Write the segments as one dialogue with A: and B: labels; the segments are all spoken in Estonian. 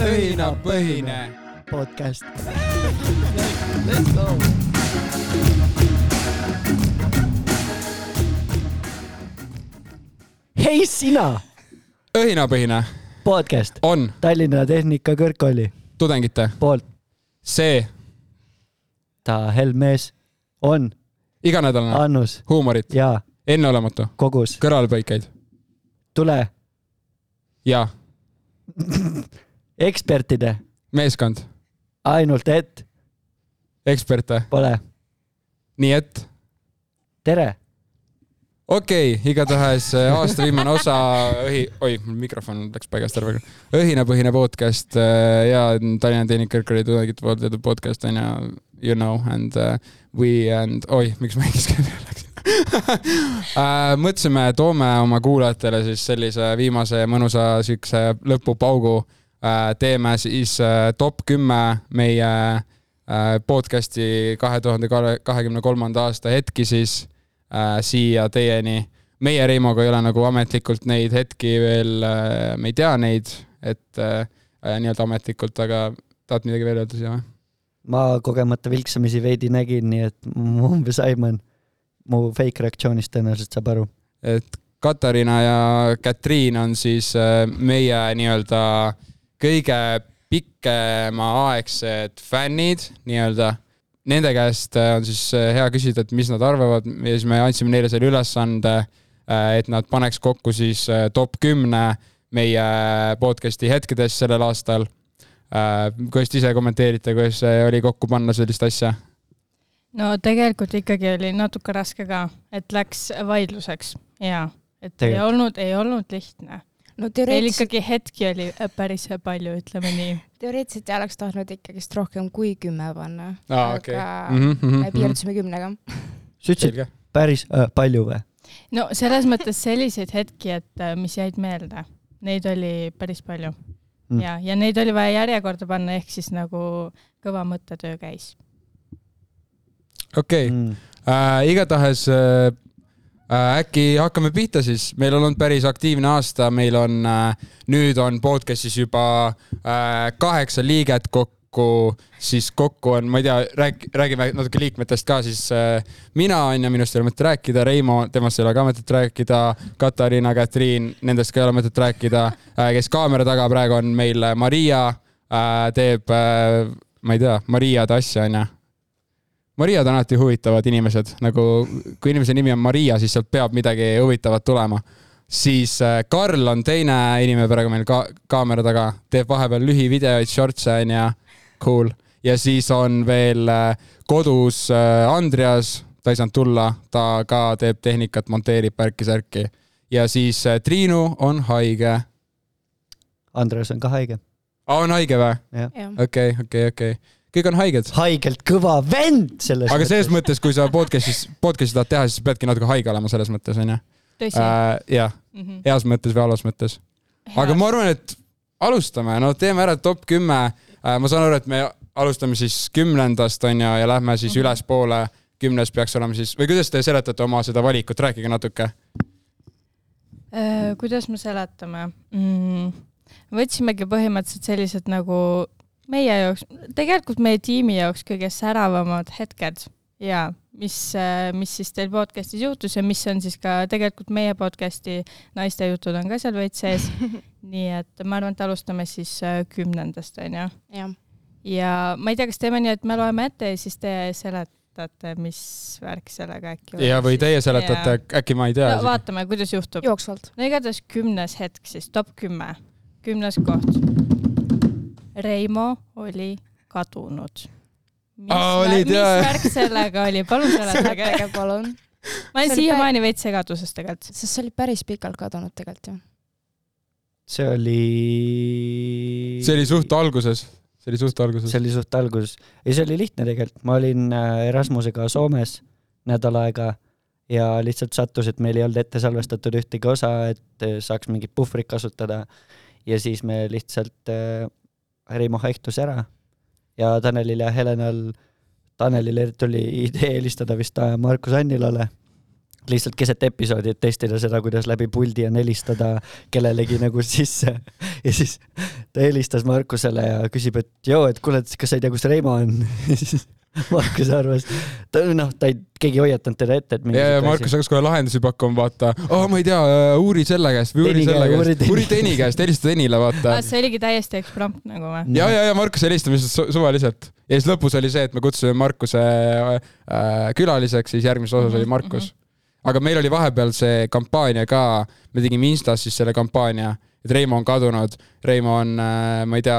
A: lõhinapõhine .
B: podcast .
C: Let's go .
B: hei sina ,
A: õhinapõhine
B: podcast
A: on
B: Tallinna Tehnikakõrgkooli
A: tudengite
B: poolt .
A: see
B: ta Helmees on
A: iganädalane
B: Annus
A: huumorit ,
B: ja
A: enneolematu ,
B: Kogus .
A: kõrvalpõikeid
B: tule
A: ja
B: ekspertide ,
A: meeskond ,
B: ainult et
A: eksperte ,
B: pole .
A: nii et
B: tere ,
A: okei okay, , igatahes äh, aasta viimane osa õhi , oi , mul mikrofon läks paigast ära praegu . õhinapõhine podcast äh, ja Tallinna Tehnikakõrgkooli tudengite poolt tehtud podcast on ju , you know and uh, we and , oi , miks ma inglise keelde läksin uh, ? mõtlesime , toome oma kuulajatele siis sellise viimase mõnusa siukse lõpupaugu uh, . teeme siis uh, top kümme meie uh, podcast'i kahe tuhande kahekümne kolmanda aasta hetki siis äh, siia teieni . meie Reimoga ei ole nagu ametlikult neid hetki veel äh, , me ei tea neid , et äh, äh, nii-öelda ametlikult , aga tahad midagi veel öelda siia või ?
B: ma kogemata vilksamisi veidi nägin , nii et m- umbes Aiman mu fake reaktsioonist tõenäoliselt saab aru .
A: et Katariina ja Katriin on siis äh, meie nii-öelda kõige pikemaaegsed fännid nii-öelda . Nende käest äh, on siis äh, hea küsida , et mis nad arvavad ja siis me andsime neile selle ülesande , et nad paneks kokku siis äh, top kümne meie podcast'i hetkedest sellel aastal . kuidas te ise kommenteerite , kuidas äh, oli kokku panna sellist asja ?
D: no tegelikult ikkagi oli natuke raske ka , et läks vaidluseks ja et Tegel. ei
B: Tegelikult.
D: olnud , ei olnud lihtne .
E: no
D: Teil
E: teoreetiliselt ,
D: ikkagi hetki oli äh, päris palju , ütleme nii .
E: teoreetiliselt ja oleks tahtnud ikkagist rohkem kui kümme panna .
A: aa , okei .
E: piirdusime kümnega .
B: sa ütlesid
A: Mhm, selge .
B: päris äh, palju või ?
D: no selles mõttes selliseid hetki , et äh, mis jäid meelde , neid oli päris palju
B: Mm.
D: mm. ja , ja neid oli vaja järjekorda panna , ehk siis nagu kõva mõttetöö käis .
A: okei ,
B: Mm.
A: äh, . igatahes äh, äh, äkki hakkame pihta siis , meil on olnud päris aktiivne aasta , meil on äh, , nüüd on podcast'is juba äh, kaheksa liiget kokku , siis kokku on , ma ei tea , rääk- , räägime natuke liikmetest ka siis äh, . mina on ju , minust ei ole mõtet rääkida , Reimo , temast ei ole ka mõtet rääkida , Katariina , Katriin , nendest ka ei ole mõtet rääkida äh, . kes kaamera taga praegu on meil äh, Maria äh, , teeb äh, , ma ei tea , Mariade asja on ju Mariad on alati huvitavad inimesed , nagu kui inimese nimi on Maria , siis sealt peab midagi huvitavat tulema . siis äh, Karl on teine inimene praegu meil ka kaamera taga , teeb vahepeal lühivideoid , shorts'e onju , cool . ja siis on veel äh, kodus äh, Andreas , ta ei saanud tulla , ta ka teeb tehnikat , monteerib värki-särki . ja siis äh, Triinu on haige .
B: Andres on ka haige .
A: aa , on haige või ?
E: jah ,
A: okei okay, , okei okay, , okei okay. . kõik on haiged .
B: haigelt kõva vend selles
A: aga selles . mõttes , kui sa podcast'is , podcast'i tahad teha , siis peadki natuke haige olema selles mõttes onju .
D: tõsi äh, ?
A: äh, . jah ,
D: Mm -hmm.
A: heas mõttes või halvas mõttes . aga ma arvan , et alustame , no teeme ära top kümme äh, . ma saan aru , et me alustame siis kümnendast onju ja lähme siis
D: Mhm.
A: ülespoole . kümnes peaks olema siis või kuidas te seletate oma seda valikut , rääkige natuke .
D: Äh, kuidas me seletame mm, ? võtsimegi põhimõtteliselt sellised nagu meie jaoks , tegelikult meie tiimi jaoks kõige säravamad hetked ja mis , mis siis teil podcast'is juhtus ja mis on siis ka tegelikult meie podcast'i naiste jutud on ka seal veits sees . nii et ma arvan , et alustame siis äh, kümnendast onju .
E: jah .
D: ja ma ei tea , kas teeme nii , et me loeme ette ja siis te seletate , mis värk sellega äkki
A: ja , või teie
D: Jaa.
A: seletate , äkki ma ei tea
D: no, . vaatame , kuidas juhtub .
E: jooksvalt .
D: no igatahes kümnes hetk siis , top kümme , kümnes koht . Reimo oli kadunud . mis,
A: Aa,
D: vä-
A: olid,
D: mis
A: jaa.
D: värk sellega oli , palun seletage .
E: seletage palun .
D: ma
E: See
D: olen
E: oli
D: siiamaani veits segaduses tegelikult .
E: sest sa olid päris pikalt kadunud tegelikult ju .
B: see oli .
A: see oli suht alguses , see oli suht alguses
B: see . oli suht alguses . ei , see oli lihtne tegelikult , ma olin äh, Erasmusega Soomes nädal aega ja lihtsalt sattus , et meil ei olnud ette salvestatud ühtegi osa , et äh, saaks mingit puhvrit kasutada . ja siis me lihtsalt äh, , Reimo haihtus ära ja Tanelil ja Helenal , Tanelil tuli idee helistada vist äh, Markus Annilale . lihtsalt keset episoodi , et testida seda , kuidas läbi puldi on helistada kellelegi nagu sisse . ja siis ta helistas Markusele ja küsib , et joo , et kuule , et kas sa ei tea , kus Reimo on ? ja siis Markus arvas , ta noh , ta ei , keegi ei hoiatanud teda ette , et
A: ja , ja Markus . hakkas kohe lahendusi pakkuma , vaata oh, , ma ei tea , uuri selle käest või uuri
B: Teni
A: selle
B: käe- uuri
A: käest ,
B: Teni-
A: uuri Teni käest , helista Tenile , vaata
D: aa , . Ah, see oligi täiesti eksprompt nagu või ?
A: ja , ja , ja Markus helistab lihtsalt su- suvaliselt ja siis lõpus oli see , et me kutsusime Markuse äh, külaliseks , siis järgmises osas oli
D: Mhm,
A: Markus . aga meil oli vahepeal see kampaania ka , me tegime Instas siis selle kampaania , et Reimo on kadunud , Reimo on , ma ei tea ,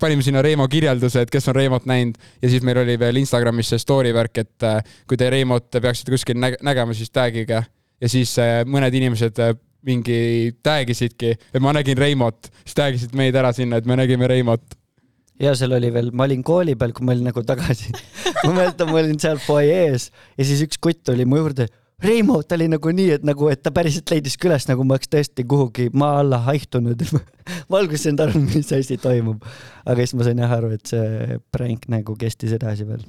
A: panime sinna Reimo kirjelduse , et kes on Reimot näinud ja siis meil oli veel Instagramis see story värk , et äh, kui te Reimot peaksite kuskil näge- nägema , siis tag'ige ja siis äh, mõned inimesed äh, mingi tag isidki , et ma nägin Reimot , siis tag isid meid ära sinna , et me nägime Reimot .
B: ja seal oli veel , ma olin kooli peal , kui ma olin nagu tagasi . ma mäletan , ma olin seal fuajees ja siis üks kutt tuli mu juurde . Reimo , ta oli nagu nii , et nagu , et ta päriselt leidis ka üles , nagu ma oleks tõesti kuhugi maa alla haihtunud . ma alguses ei saanud aru , mis asi toimub . aga siis ma sain jah aru , et see pränk nagu kestis edasi veel .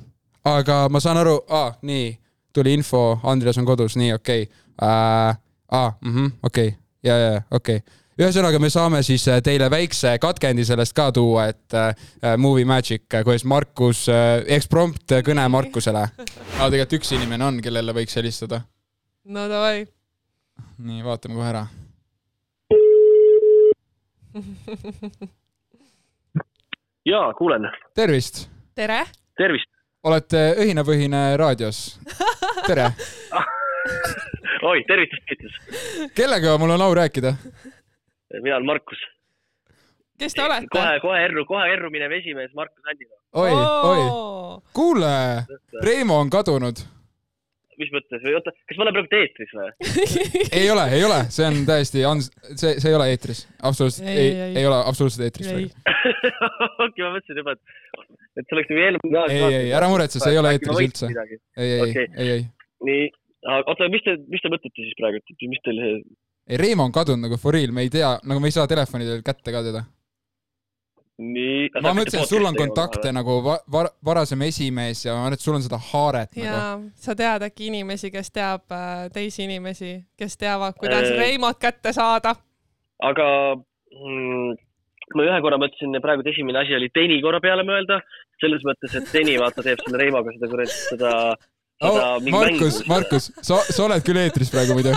A: aga ma saan aru ah, , nii , tuli info , Andres on kodus , nii okei okay. uh, . okei , ja , ja , okei okay. ühesõnaga , me saame siis äh, teile väikse katkendi sellest ka tuua , et äh, Movie Magic , kuidas Markus äh, , eksprompt äh, kõne Markusele . aga tegelikult üks inimene on , kellele võiks helistada .
F: no davai .
A: nii , vaatame kohe ära .
G: jaa , kuulen .
A: tervist ,
F: tere .
G: tervist .
A: olete Õhinapõhine raadios . tere ,
G: oi , tervitust , tervitust .
A: kellega mul on au rääkida ?
G: mina olen Markus .
F: kes te olete ?
G: kohe , kohe erru , kohe erru minev esimees Markus Andina .
A: oi , oi , kuule , Reimo on kadunud .
G: mis mõttes või oota , kas ma olen praegu eetris või ?
A: ei ole , ei ole , see on täiesti ans- , see , see ei ole eetris , absoluutselt ei,
F: Ei,
A: ei , ei,
F: ei,
A: ei.
F: ei.
A: ei ole absoluutselt eetris
F: Ei.
A: praegu .
G: okei , ma mõtlesin juba , et , et see oleks nagu eelmine aeg .
A: ei , ei , ära muretse , see ei ole eetris üldse . ei , ei , ei
G: Okei. ,
A: ei , ei .
G: nii , aga oota , mis te , mis te mõtlete siis praegu , et mis teil ,
A: ei , Reimo on kadunud nagu for real , me ei tea , nagu me ei saa telefoni teel kätte ka teda .
G: nii .
A: ma mõtlesin , et sul on kontakte . nagu va- , var- , varasem esimees ja ma arvan , et sul on seda haaret nagu .
F: ja sa tead äkki inimesi , kes teab äh, teisi inimesi , kes teavad , kuidas
G: Äh.
F: Reimot kätte saada .
G: aga mm, ma ühe korra mõtlesin , praegu et esimene asi oli teini korra peale mõelda , selles mõttes , et teini vaata teeb selle Reimoga seda kuradi , seda ,
A: Oh,
G: seda mingi
A: Markus ,
G: mängu.
A: Markus , sa , sa oled küll eetris praegu muidu .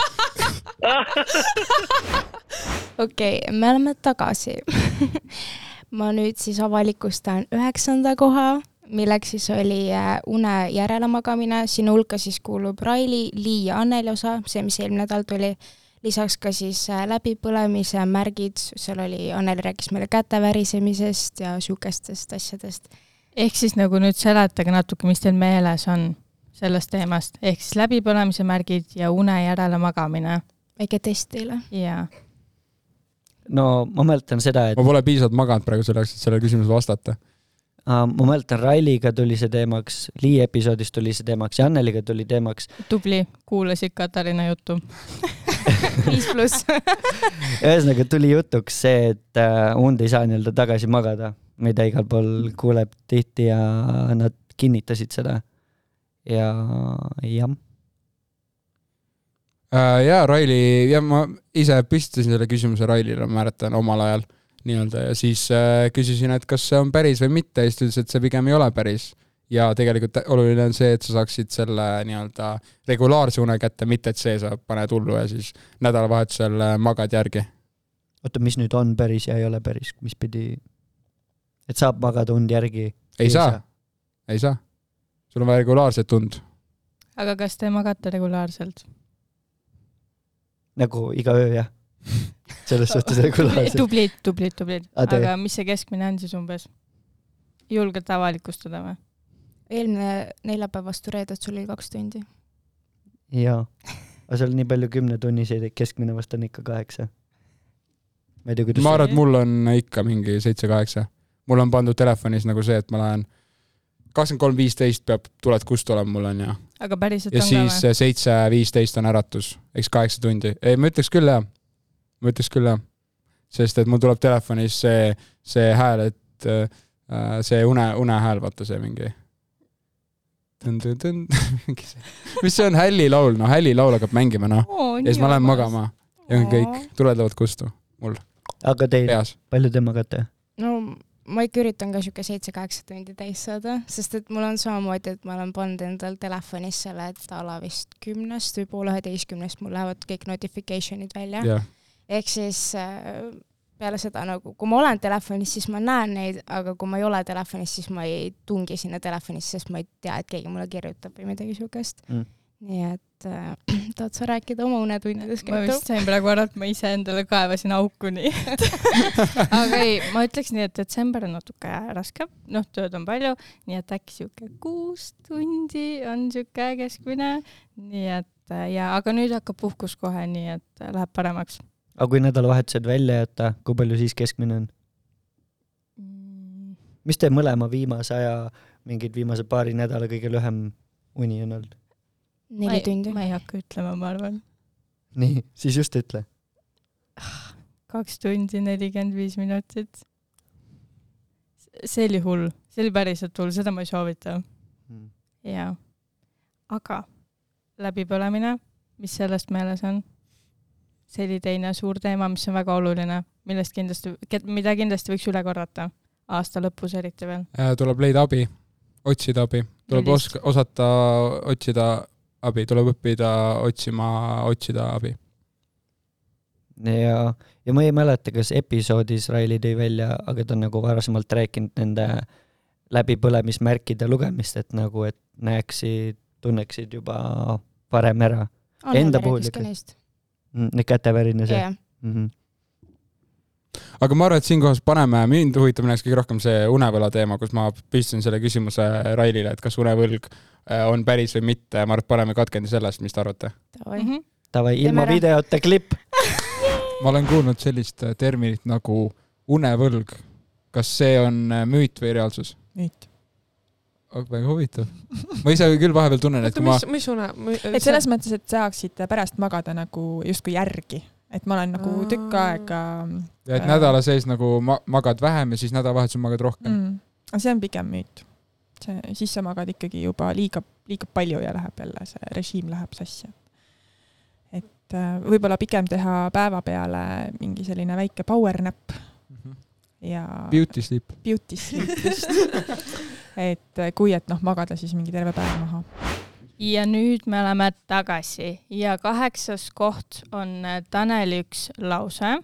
E: okei okay, , me oleme tagasi . ma nüüd siis avalikustan üheksanda koha , milleks siis oli äh, une järelemagamine , sinna hulka siis kuulub Raili , Lii ja Anneli osa , see , mis eelmine nädal tuli , lisaks ka siis äh, läbipõlemise märgid , seal oli , Anneli rääkis meile käte värisemisest ja niisugustest asjadest .
D: ehk siis nagu nüüd seletage natuke , mis teil meeles on sellest teemast , ehk siis läbipõlemise märgid ja une järele magamine
E: väike test teile .
D: ja
B: no ma mäletan seda , et
A: ma pole piisavalt maganud praegu selle jaoks , et sellele küsimusele vastata .
B: äh, ma mäletan , Railiga tuli see teemaks , Lii episoodis tuli see teemaks ja Anneliga tuli teemaks .
D: tubli , kuulasid Katariina juttu .
E: viis pluss .
B: ühesõnaga tuli jutuks see , et äh, und ei saa nii-öelda tagasi magada , mida igal pool kuuleb tihti ja nad kinnitasid seda . ja jah ,
A: ja Äh, Raili , ja ma ise püstitasin selle küsimuse Railile , ma mäletan omal ajal nii-öelda ja siis äh, küsisin , et kas see on päris või mitte ja siis ta ütles , et see pigem ei ole päris . ja tegelikult tä- oluline on see , et sa saaksid selle nii-öelda regulaarse une kätte , mitte et see sa paned hullu ja siis nädalavahetusel äh, magad järgi .
B: oota , mis nüüd on päris ja ei ole päris , mis pidi ? et saab magada und järgi ?
A: ei saa ,. ei saa . sul on vaja regulaarset und .
D: aga kas te magate regulaarselt ?
B: nagu iga öö jah ? selles suhtes regulaarselt .
D: tublid , tublid , tublid .
A: Ah,
B: Aga teie?
D: aga mis see keskmine on siis umbes ? julgete avalikustada või ?
E: eelmine neljapäev vastu reedet sul oli kaks tundi .
B: jaa , aga seal on nii palju kümnetunniseid , et keskmine vast on ikka kaheksa . ma ei tea , kuidas
A: ma . arvan , et mul on ikka mingi seitse-kaheksa . mul on pandud telefonis nagu see , et ma lähen kakskümmend kolm viisteist peab , tuled kust olema , mul on ja
D: aga päriselt
A: ja
D: on ka
A: siis eh,
D: või ?
A: seitse viisteist on äratus , eks kaheksa tundi , ei ma ütleks küll jah , ma ütleks küll jah , sest et mul tuleb telefonis see , eh, see hääl , et äh, see une , unehääl , vaata see mingi mis see on , hälli laul , no hälli laul hakkab mängima , noh . ja siis ma lähen . magama ja on kõik , tuled lähevad kustu
B: aga teil ,
A: peas .
B: palju te magate ?
E: no ma ikka üritan ka sihuke seitse-kaheksa tundi täis saada , sest et mul on samamoodi , et ma olen pannud endal telefonis selle , et a la vist kümnest või poole üheteistkümnest mul lähevad kõik notification'id välja .
A: jah ,
E: ehk siis äh, peale seda nagu , kui ma olen telefonis , siis ma näen neid , aga kui ma ei ole telefonis , siis ma ei tungi sinna telefonisse , sest ma ei tea , et keegi mulle kirjutab või midagi siukest
B: Mm.
E: mm. . nii et äh, tahad sa rääkida oma unetundidest ,
D: ma
E: Kertu
D: vist ? sain praegu aru , et ma iseendale kaevasin auku nii et aga ei , ma ütleks nii , et detsember on natuke raske , noh , tööd on palju , nii et äkki sihuke kuus tundi on sihuke keskmine , nii et äh, ja , aga nüüd hakkab puhkus kohe , nii et äh, läheb paremaks .
B: aga kui nädalavahetused välja jätta , kui palju siis keskmine on ? mis te mõlema viimase aja , mingid viimase paari nädala kõige lühem uni on olnud ?
E: neli tundi .
D: ma ei hakka ütlema , ma arvan ,
B: nii , siis just ütle .
D: kaks tundi nelikümmend viis minutit . see oli hull , see oli päriselt hull , seda ma ei soovita
B: Mm.
D: jaa , aga läbipõlemine , mis sellest meeles on ? see oli teine suur teema , mis on väga oluline , millest kindlasti , mida kindlasti võiks üle korrata aasta lõpus eriti veel .
A: tuleb leida abi , otsida abi , tuleb
D: Millist?
A: oska , osata otsida abi , tuleb õppida otsima , otsida abi .
B: ja , ja ma ei mäleta , kas episoodis Raili tõi välja , aga ta on nagu varasemalt rääkinud nende läbipõlemismärkide lugemist , et nagu , et näeksid , tunneksid juba varem ära . Enda puhul ikka. kätevärin ja see
E: jah ,
B: mm . -hmm.
A: aga ma arvan , et siinkohas paneme , mind huvitab näiteks kõige rohkem see unevõla teema , kus ma püstitasin selle küsimuse Railile , et kas unevõlg äh, on päris või mitte , ma arvan , et paneme katkendi sellest , mis te arvate ?
E: davai .
D: Mm -hmm.
B: Davai ,
E: Teeme
B: ilma
E: ära.
B: videota klipp .
A: ma olen kuulnud sellist äh, terminit nagu unevõlg . kas see on äh, müüt või reaalsus ?
H: nüüd .
A: Oh, väga huvitav . ma ise küll vahepeal tunnen , et
H: oota ,
A: kui ma
H: mis , mis une ? et selles
F: selles
H: mõttes , et saaksid pärast magada nagu justkui järgi , et ma olen nagu
F: Aa.
H: tükk aega mm,
A: ja et nädala sees nagu ma magad vähem ja siis nädalavahetusel magad rohkem mm. .
H: mm, , aga see on pigem müüt . see , siis sa magad ikkagi juba liiga , liiga palju ja läheb jälle see režiim läheb sassi . et äh, võib-olla pigem teha päeva peale mingi selline väike power nap ja
A: Beauty sleep .
H: beauty sleep just . et äh, kui , et noh , magada siis mingi terve päev maha .
D: ja nüüd me oleme tagasi ja kaheksas koht on äh, Taneli üks lause ,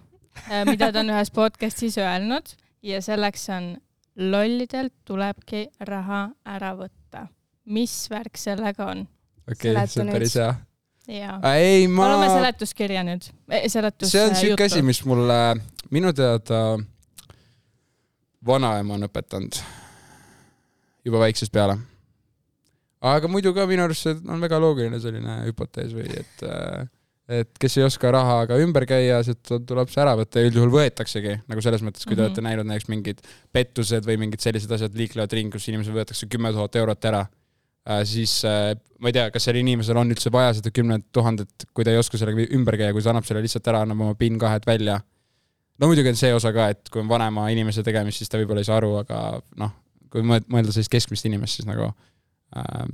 D: mida ta on ühes podcast'is öelnud ja selleks on lollidelt tulebki raha ära võtta . mis värk sellega on ?
A: okei okay, , see on
E: Seletanud.
A: päris hea .
D: jaa .
A: ei , Äh, ma
D: palume , seletuskirja nüüd , seletus . äh,
A: see on siuke asi , mis mulle minu teada vanaema on õpetanud juba väiksest peale . aga muidu ka minu arust see on väga loogiline selline hüpotees või et , et kes ei oska rahaga ümber käia , sealt tuleb see ära võtta ja üldjuhul võetaksegi nagu selles mõttes , kui te olete näinud näiteks mingid pettused või mingid sellised asjad liiklevad ringi , kus inimesel võetakse kümme tuhat eurot ära . siis äh, ma ei tea , kas sellel inimesel on üldse vaja seda kümmet tuhandet , kui ta ei oska sellega ümber käia , kui ta annab selle lihtsalt ära , annab oma PIN kahed välja . no muidugi on see osa ka , et kui on vanema inimese tegemist , siis ta võib-olla ei saa aru , aga noh , kui mõe- mõelda sellist keskmist inimest , siis nagu äh,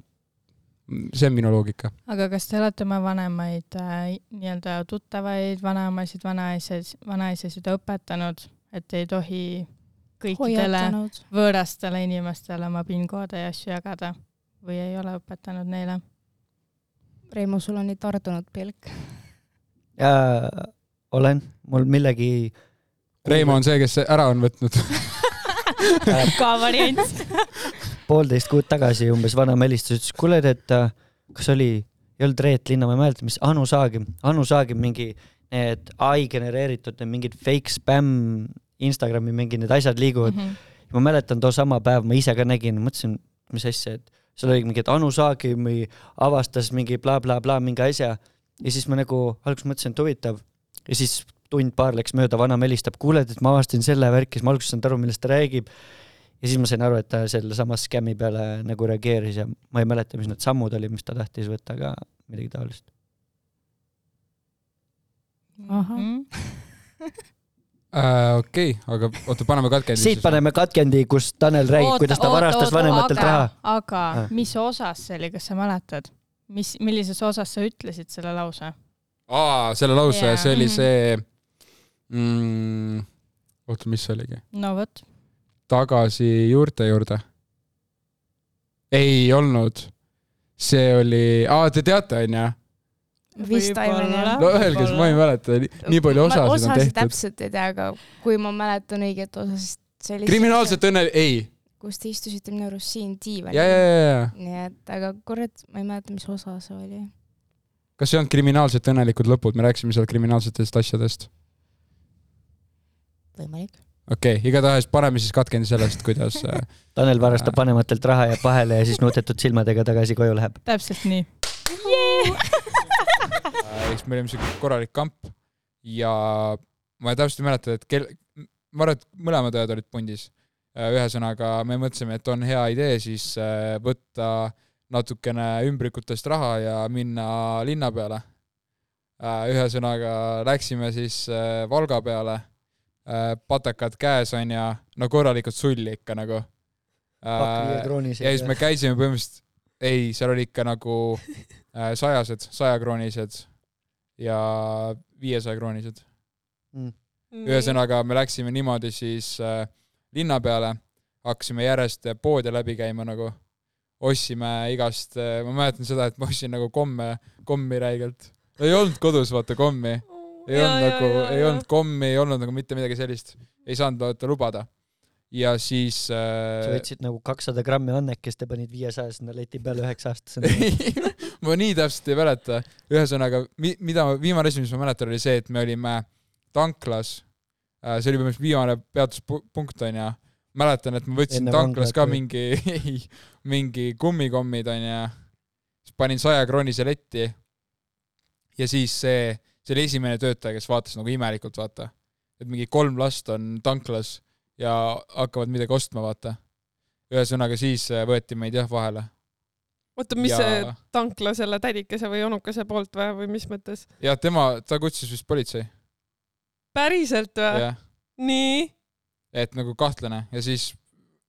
A: see on minu loogika .
D: aga kas te olete oma vanemaid äh, nii-öelda tuttavaid , vanaemasid , vanaises , vanaisasid õpetanud , et ei tohi kõikidele
E: hoiatanud .
D: võõrastele inimestele oma PIN-koode ja asju jagada või ei ole õpetanud neile ?
E: Reimo , sul on nii tardunud pilk .
B: ja olen , mul millegi .
A: Reimo on see , kes ära on võtnud .
D: ka variant .
B: poolteist kuud tagasi umbes vanaema helistas , ütles kuule , et äh, kas oli , ei olnud Reet Linnamäe , ma ei mäleta , mis Anu Saagim , Anu Saagim mingi need ai genereeritud need mingid fake spam Instagrami mingi need asjad liiguvad
D: Mhm.
B: mm . -hmm. ma mäletan too sama päev ma ise ka nägin , mõtlesin , mis asja , et seal oli mingi , et Anu Saagimi avastas mingi blablabla bla, bla, mingi asja ja siis ma nagu alguses mõtlesin , et huvitav ja siis tund-paar läks mööda , vanaema helistab , kuuled , et ma avastasin selle värki , siis ma alguses ei saanud aru , millest ta räägib . ja siis ma sain aru , et ta selle sama skämmi peale nagu reageeris ja ma ei mäleta , mis need sammud olid , mis ta tahtis võtta , aga midagi
D: Mhm.
B: taolist .
A: äh, . okei okay, , aga oota , paneme katkendi
B: siit . paneme katkendi , kus Tanel räägib , kuidas ta varastas vanematelt
D: aga,
B: raha .
D: aga
B: Ah.
D: mis osas see oli , kas sa mäletad , mis , millises osas sa ütlesid selle lause ?
A: aa , selle lause
D: Jaa.
A: yeah. , see oli
E: Mhm.
A: see mm, . oota , mis see oligi ?
D: no vot ,
A: tagasi juurte juurde . ei olnud . see oli , aa , te teate , onju ?
E: vist ainult jah .
A: no öelge , siis ma ei mäleta , nii palju osasid on
E: osasid
A: tehtud .
E: täpselt ei tea , aga kui ma mäletan õiget osa , siis see oli .
A: kriminaalset . õnne , ei ,
E: kus te istusite minu arust siin diivanil
A: ja , ja , ja , ja ,
E: nii et , aga kurat , ma ei mäleta , mis osa see oli .
A: kas ei olnud kriminaalselt õnnelikud lõpud , me rääkisime seal kriminaalsetest asjadest .
E: võimalik .
A: okei okay, , igatahes paneme siis katkendi sellest , kuidas äh,
B: Tanel varastab vanematelt raha , jääb vahele ja siis nutetud silmadega tagasi koju läheb .
D: täpselt nii .
A: Äh, eks me olime siuke korralik kamp ja ma täpselt ei mäleta , et kel- , ma arvan , et mõlemad õed olid pundis . ühesõnaga , me mõtlesime , et on hea idee siis äh, võtta natukene ümbrikutest raha ja minna linna peale . ühesõnaga läksime siis äh, Valga peale , patakad käes onju , no korralikult sulli ikka nagu . Äh, ja siis me käisime põhimõtteliselt , ei , seal oli ikka nagu äh, sajased , sajakronised ja viiesajakronised .
B: Mm.
A: ühesõnaga , me läksime niimoodi siis äh, linna peale , hakkasime järjest poode läbi käima nagu , ostsime igast , ma mäletan seda , et ma ostsin nagu komme , kommi räigelt . ei olnud kodus , vaata , kommi . ei olnud nagu , ei olnud kommi , ei olnud nagu mitte midagi sellist . ei saanud vaata lubada . ja siis
B: sa
A: äh,
B: võtsid nagu kakssada grammi annekest ja panid viiesaja sinna leti peale üheksa aastasena .
A: Ei, ma nii täpselt ei mäleta , ühesõnaga , mida , viimane asi , mis ma mäletan , oli see , et me olime tanklas , see oli põhimõtteliselt viimane peatuspunkt , onju . mäletan , et ma võtsin
B: Enne
A: Enne tanklas
B: vanglat
A: ka
B: või?
A: mingi , mingi kummikommid , onju . siis panin sajakroonise letti . ja siis see , see oli esimene töötaja , kes vaatas nagu imelikult , vaata . et mingi kolm last on tanklas ja hakkavad midagi ostma , vaata . ühesõnaga , siis äh, võeti meid jah vahele .
F: oota , mis
A: Ja-
F: ja... see tankla selle tädikese või onukese poolt või , või mis mõttes ?
A: jah , tema , ta kutsus vist politsei ,
F: päriselt või ?
A: jah ,
F: nii ?
A: et nagu kahtlane ja siis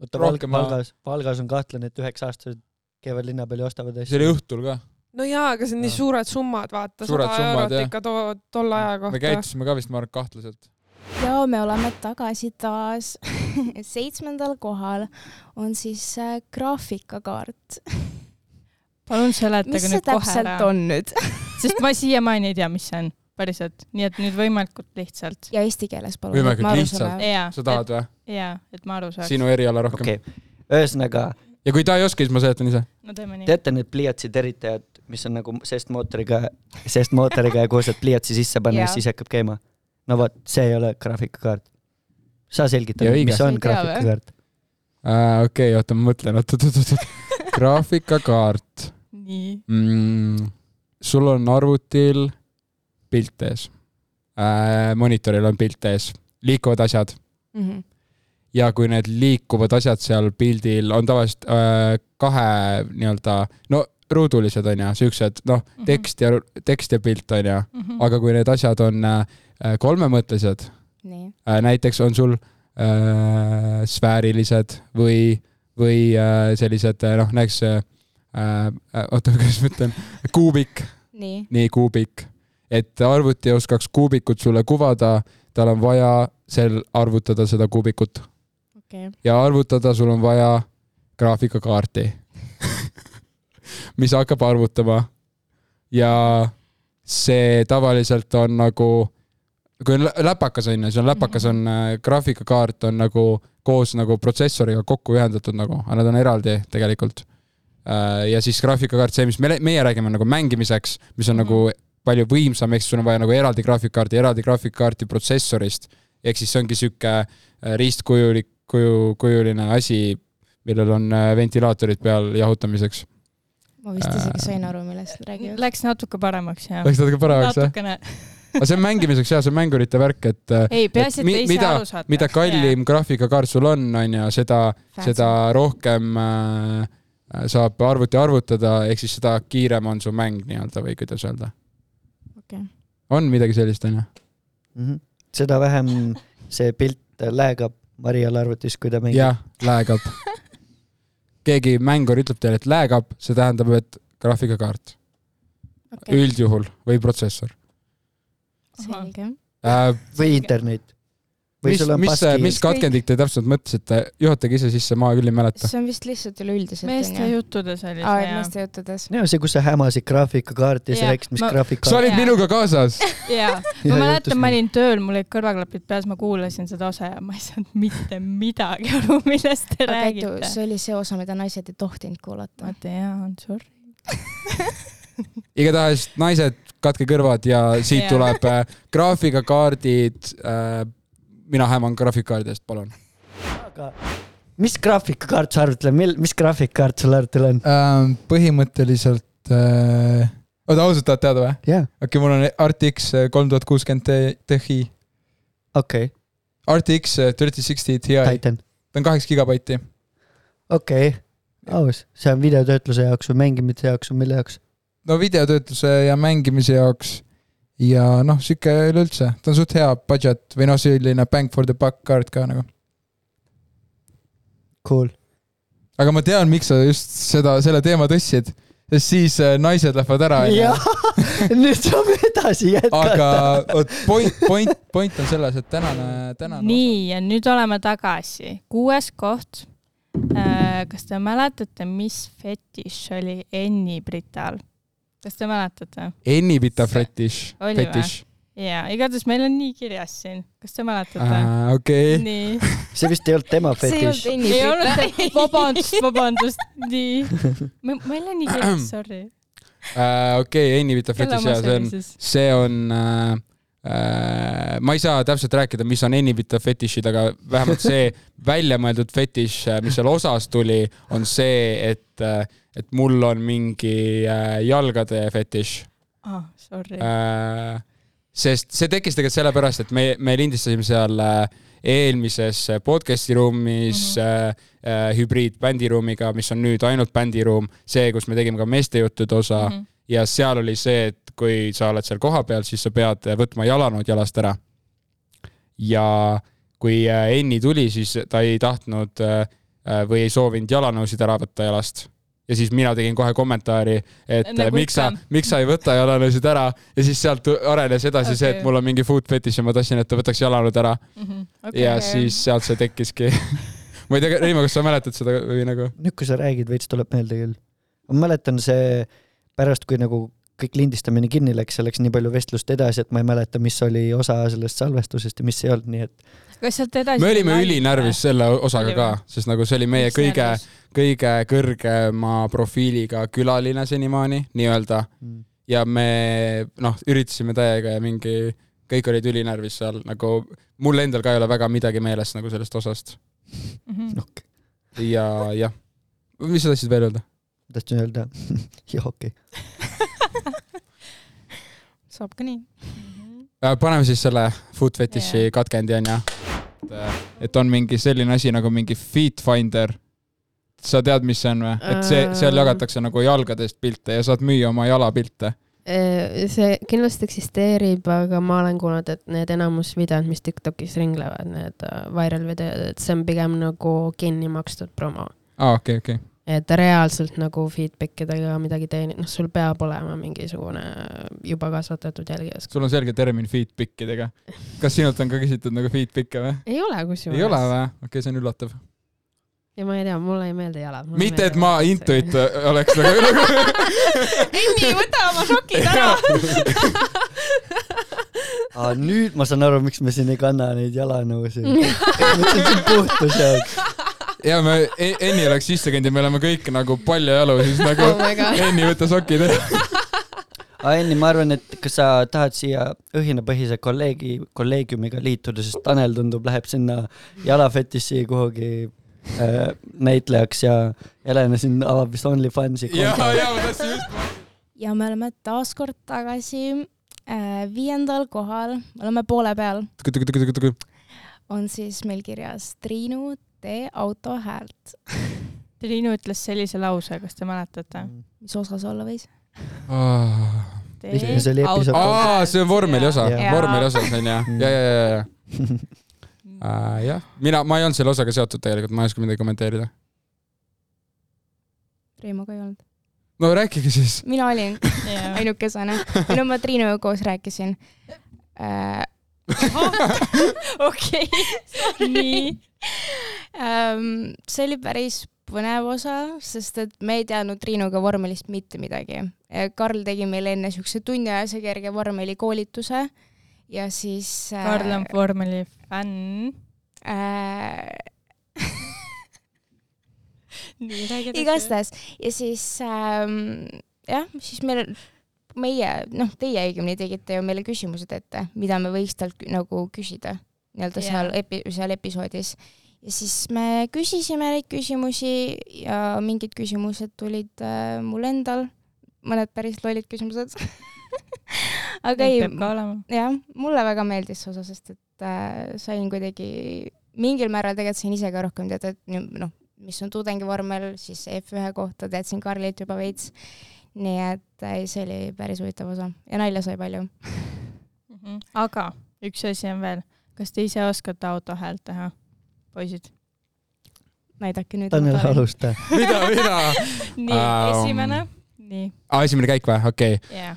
B: oota ,
A: Rohkem ma-
B: Valgas , Valgas on kahtlane , et üheksa aastased käivad linna peal ja ostavad
A: see oli
B: asju .
A: õhtul ka ,
F: no jaa , aga see on nii
B: Jah.
F: suured summad , vaata ,
A: Suured
F: sada
A: summad,
F: eurot
A: jah.
F: ikka too , tolle aja
A: me
F: kohta .
A: käitusime ka vist , ma arvan , kahtlaselt .
E: ja me oleme tagasi taas seitsmendal kohal on siis äh, graafikakaart .
D: palun seletage
E: mis see
D: nüüd kohe
E: täpselt
D: ära ,
E: on nüüd
D: sest ma siiamaani ei tea , mis see on , päriselt , nii et nüüd võimalikult lihtsalt .
E: ja eesti keeles palun .
A: Võimalikult lihtsalt.
D: ja ,
A: sa tahad või ?
D: ja , et ma aru saaks .
A: sinu eriala rohkem okay. .
B: okei , ühesõnaga
A: ja kui ta ei oska , siis ma seletan ise .
D: no teeme nii .
B: teate need pliiatsi teritajad , mis on nagu seestmootoriga , seestmootoriga ja kuhu saad pliiatsi sisse panna ja
E: Jaa.
B: siis hakkab käima . no vot , see ei ole graafikakaart . sa selgita
A: Ja , õige.
B: mis on
D: Ei tea, või?
B: graafikakaart .
A: okei , oota , ma mõtlen , oot , oot , oot , oot . graafikakaart
D: nii .
A: mm, . sul on arvutil pilt ees äh, . monitoril on pilt ees , liikuvad asjad
E: -hmm.
A: ja kui need liikuvad asjad seal pildil on tavaliselt äh, kahe nii-öelda , no ruudulised on ju , siuksed , noh , tekst ja , tekst ja pilt on
D: Mhm.
A: ju aga kui need asjad on äh, kolmemõttelised
E: nii ,
A: äh, , näiteks on sul äh, sfäärilised või , või äh, sellised äh, noh , näiteks äh, äh, oota , kuidas ma ütlen , kuubik ,
E: nii ,
A: nii kuubik , et arvuti oskaks kuubikut sulle kuvada , tal on vaja seal arvutada seda kuubikut
E: okei okay. .
A: ja arvutada sul on vaja graafikakaarti , mis hakkab arvutama . ja see tavaliselt on nagu , kui on lä- läpakas on ju , siis on läpakas
E: Mhm.
A: on äh, graafikakaart on nagu koos nagu protsessoriga kokku ühendatud nagu , aga nad on eraldi tegelikult . Äh, ja siis graafikakaart , see , mis me , meie räägime nagu mängimiseks , mis on nagu
D: Mhm.
A: palju võimsam , ehk siis sul on vaja nagu eraldi graafikakaarti , eraldi graafikakaarti protsessorist . ehk siis see ongi sihuke äh, riistkujulik , kuju , kujuline asi , millel on äh, ventilaatorid peal jahutamiseks .
E: ma vist
A: Äh.
E: isegi sain aru , millest nad räägivad .
D: Läks natuke paremaks jah ?
A: Läks natuke paremaks või ?
D: natukene ,
A: aga see on mängimiseks ja see on mängurite värk , et äh,
D: ei peaasi ,
A: Et
D: et
A: mi-
D: te ise
A: mida-
D: aru saate .
A: mida kallim graafikakaart sul on , on ju , seda ,
E: Fancy.
A: seda rohkem äh, saab arvuti arvutada , ehk siis seda kiirem on su mäng nii-öelda või kuidas öelda .
E: Okei.
A: on midagi sellist , on ju ?
B: Mhm. seda vähem see pilt äh, läägab Marial arvutis , kui ta mängib .
A: jah , läägab . keegi mängur ütleb teile , et läägab , see tähendab , et graafikakaart okay.
E: okei ,
A: üldjuhul või protsessor
E: selge .
A: äh, .
B: või internet . või
A: mis
B: sul , on
A: mis ,
B: paski
A: mis . katkendik te täpselt mõtlesite , juhatage ise sisse , ma küll ei mäleta .
E: see on vist lihtsalt üleüldiselt .
D: meeste juttudes oli
E: aa ,
D: see
E: et
D: jah .
E: meeste juttudes .
B: no see , kus sa hämasid graafikakaarti ja sa
D: Jah,
B: rääkisid , mis
D: ma-
B: graafika
A: sa
B: on .
A: olid
D: Jaa.
A: minuga kaasas .
D: jaa ,
B: Ja
D: ma mäletan ,
B: juhtus
D: ma
B: nii.
D: olin tööl , mul olid kõrvaklapid peas , ma kuulasin seda osa ja ma ei saanud mitte midagi aru , millest te
E: aga edu ,
D: räägite .
E: see oli see osa , mida naised ei tohtinud kuulata .
D: vaata jaa , on sorry .
A: igatahes naised , katke kõrvad ja siit
D: Jaa.
A: tuleb äh, graafikakaardid äh, . mina häman graafikakaardidest , palun
B: mis graafikakaart sa arvutil on , mil , mis graafikakaart sul arvutil on ?
I: ähm, . põhimõtteliselt äh, , oota ausalt tahad teada või ?
B: jaa ,
I: okei okay, , mul on RTX kolm tuhat kuuskümmend Ti ,
B: okei ,
I: RTX thirty sixty Ti , ta
B: Titan ,
I: on kaheksa gigabaiti .
B: okei , aus , see on videotöötluse jaoks või mängimise jaoks või mille jaoks ?
I: no videotöötluse ja mängimise jaoks ja noh , sihuke üleüldse , ta on suht hea budget või noh , selline bang for the buck kaart ka nagu .
B: Cool ,
I: aga ma tean , miks sa just seda , selle teema tõstsid , sest siis äh, naised lähevad ära .
B: jah , nüüd saame edasi
I: aga
B: jätkata .
I: vot point , point , point on selles , et tänane , tänane .
D: nii , ja nüüd oleme tagasi . kuues koht . kas te mäletate , mis fetiš oli Enni Brital ? kas te mäletate ?
A: Enni Pita fetiš ,
D: Oli või?
A: fetiš .
D: jaa , igatahes meil on nii kirjas siin . kas te mäletate ?
A: okei ,
D: nii .
B: see vist ei olnud tema
E: see ei olnud
B: fetiš .
E: Enni
D: ei olnud
E: Brita .
D: see , vabandust , vabandust , nii . meil on nii kirjas , sorry .
A: okei , Enni Pita
D: kelle
A: fetiš
D: oma
A: ja see on
D: see oli siis ?
A: see on äh, , äh, ma ei saa täpselt rääkida , mis on Enipita fetišid , aga vähemalt see väljamõeldud fetiš , mis seal osas tuli , on see , et , et mul on mingi äh, jalgade fetiš
D: ah , sorry .
A: äh, . sest see tekkis tegelikult sellepärast , et me , me lindistasime seal äh, eelmises äh, podcast'i ruumis mm -hmm. äh, äh, hübriidbändiruumiga , mis on nüüd ainult bändiruum , see , kus me tegime ka meeste juttude osa
D: Mhm,
A: mm . -hmm ja seal oli see , et kui sa oled seal kohapeal , siis sa pead võtma jalanõud jalast ära . ja kui äh, Enni tuli , siis ta ei tahtnud äh, äh, või ei soovinud jalanõusid ära võtta jalast . ja siis mina tegin kohe kommentaari , et
D: Nagu
A: nagu miks sa
D: ikka. ,
A: miks sa ei võta jalanõusid ära ja siis sealt tu- arenes edasi okay. see ,
D: Okei.
A: et mul on mingi food fetish ja ma tahtsin , et ta võtaks jalanõud ära
D: mhm.
A: okay. ja siis sealt see tekkiski . ma ei tea , Reimo , kas sa mäletad seda või nagu ?
B: nüüd , kui sa räägid , veits tuleb meelde küll . ma mäletan see pärast , kui nagu kõik lindistamine kinni läks , seal läks nii palju vestlust edasi , et ma ei mäleta , mis oli osa sellest salvestusest ja mis ei olnud , nii et
D: kas sealt edasi ? Ah,
A: me olime ülinärvis . selle osaga
D: Oli
A: ka
D: või? ,
A: sest nagu see oli meie kõige , kõige kõrgema profiiliga külaline senimaani nii-öelda
B: Mm.
A: ja me noh , üritasime täiega ja mingi , kõik olid ülinärvis seal nagu , mul endal ka ei ole väga midagi meeles nagu sellest osast
D: Mhm.
B: okei okay. ,
A: ja jah . mis sa tahtsid veel öelda ?
B: tahtsin öelda , jah okei okay. ,
E: saab ka nii . Mhm.
A: Äh, paneme siis selle food fetish'i yeah. katkendi onju . äh,
I: et on mingi selline asi nagu mingi feet finder . sa tead , mis see on või ? et see , seal
J: Ähm.
I: jagatakse nagu jalgadest pilte ja saad müüa oma jalapilte .
J: Äh, see kindlasti eksisteerib , aga ma olen kuulnud , et need enamus videod , mis Tiktokis ringlevad , need äh, viral videod , et see on pigem nagu kinni makstud promo .
A: Ah,
I: aa , okei , okei .
J: et reaalselt nagu feedback idega midagi teenid , noh , sul peab olema mingisugune äh, juba kasvatatud jälgijas .
I: sul on selge termin feet pick idega . kas sinult on ka küsitud nagu feet pick'e või ?
J: ei ole
I: ei ole
J: kusjuures .
I: või ? okei okay, , see on üllatav .
J: ja ma ei tea , mulle ei meeldi jalad .
A: mitte , et ma intuit oleks nagu üle .
F: Enni , võta oma šokid ära .
B: aga nüüd ma saan aru , miks me siin ei kanna neid jalanõusid . see on puhtus jaoks .
A: ja me , Enni oleks sisse käinud ja me oleme kõik nagu paljajalu , siis nagu
J: oh my god .
A: Enni võta sokid ära .
B: aga Enni , ma arvan , et kas sa tahad siia õhinapõhise kolleegi , kolleegiumiga liituda , sest Tanel tundub , läheb sinna jalafetiši kuhugi äh, näitlejaks ja Helena siin avab vist OnlyFansi
A: ja ,
B: konto .
A: ja ma tahtsin just .
E: ja me oleme taas kord tagasi äh, viiendal kohal , me oleme poole peal , on siis meil kirjas Triinu , tee auto häält .
D: Triinu ütles sellise lause , kas te mäletate ?
E: mis osa see olla võis ?
B: Lihtne, see oli episood
A: aa , see on vormeli osa
B: Jaa. ,
A: Mm. vormeli osa , see on ja , ja , ja , ja , ja . äh, . jah , mina , ma ei olnud selle osaga seotud tegelikult , ma ei oska midagi kommenteerida .
E: Reimo ka ei olnud .
A: no rääkige siis .
E: mina olin
D: Jaa.
E: ainukesena . no ma Triinuga koos rääkisin äh, . okei , nii ähm, . see oli päris põnev osa , sest et me ei teadnud Triinuga vormelist mitte midagi . Karl tegi meile enne siukse tunniajase kerge vormelikoolituse ja siis äh,
D: Karl on vormeli fänn .
E: äh, .
D: nii , räägi
E: igastahes ja siis ähm, jah , siis meil , meie , noh , teie õigemini tegite ju meile küsimused ette , mida me võiks talt kü- nagu küsida nii-öelda
D: Jaa.
E: seal epi- , seal episoodis . ja siis me küsisime neid küsimusi ja mingid küsimused tulid äh, mul endal , mõned päris lollid küsimused . aga ei ,
D: peab ka olema .
E: jah , mulle väga meeldis see osa , sest et äh, sain kuidagi mingil määral tegelikult sain ise ka rohkem teada , et nüüd, noh , mis on tudengivormel , siis F1 kohta teadsin Karlit juba veits . nii et äh, see oli päris huvitav osa ja nalja sai palju .
D: Mhm. aga üks asi on veel , kas te ise oskate auto häält teha , poisid ?
E: näidake nüüd .
B: Tanel , alusta .
A: mida , mida ?
D: nii
A: Ähm.
D: um... , esimene , nii ,
A: aa , esimene käik või ? okei okay. .
D: jaa .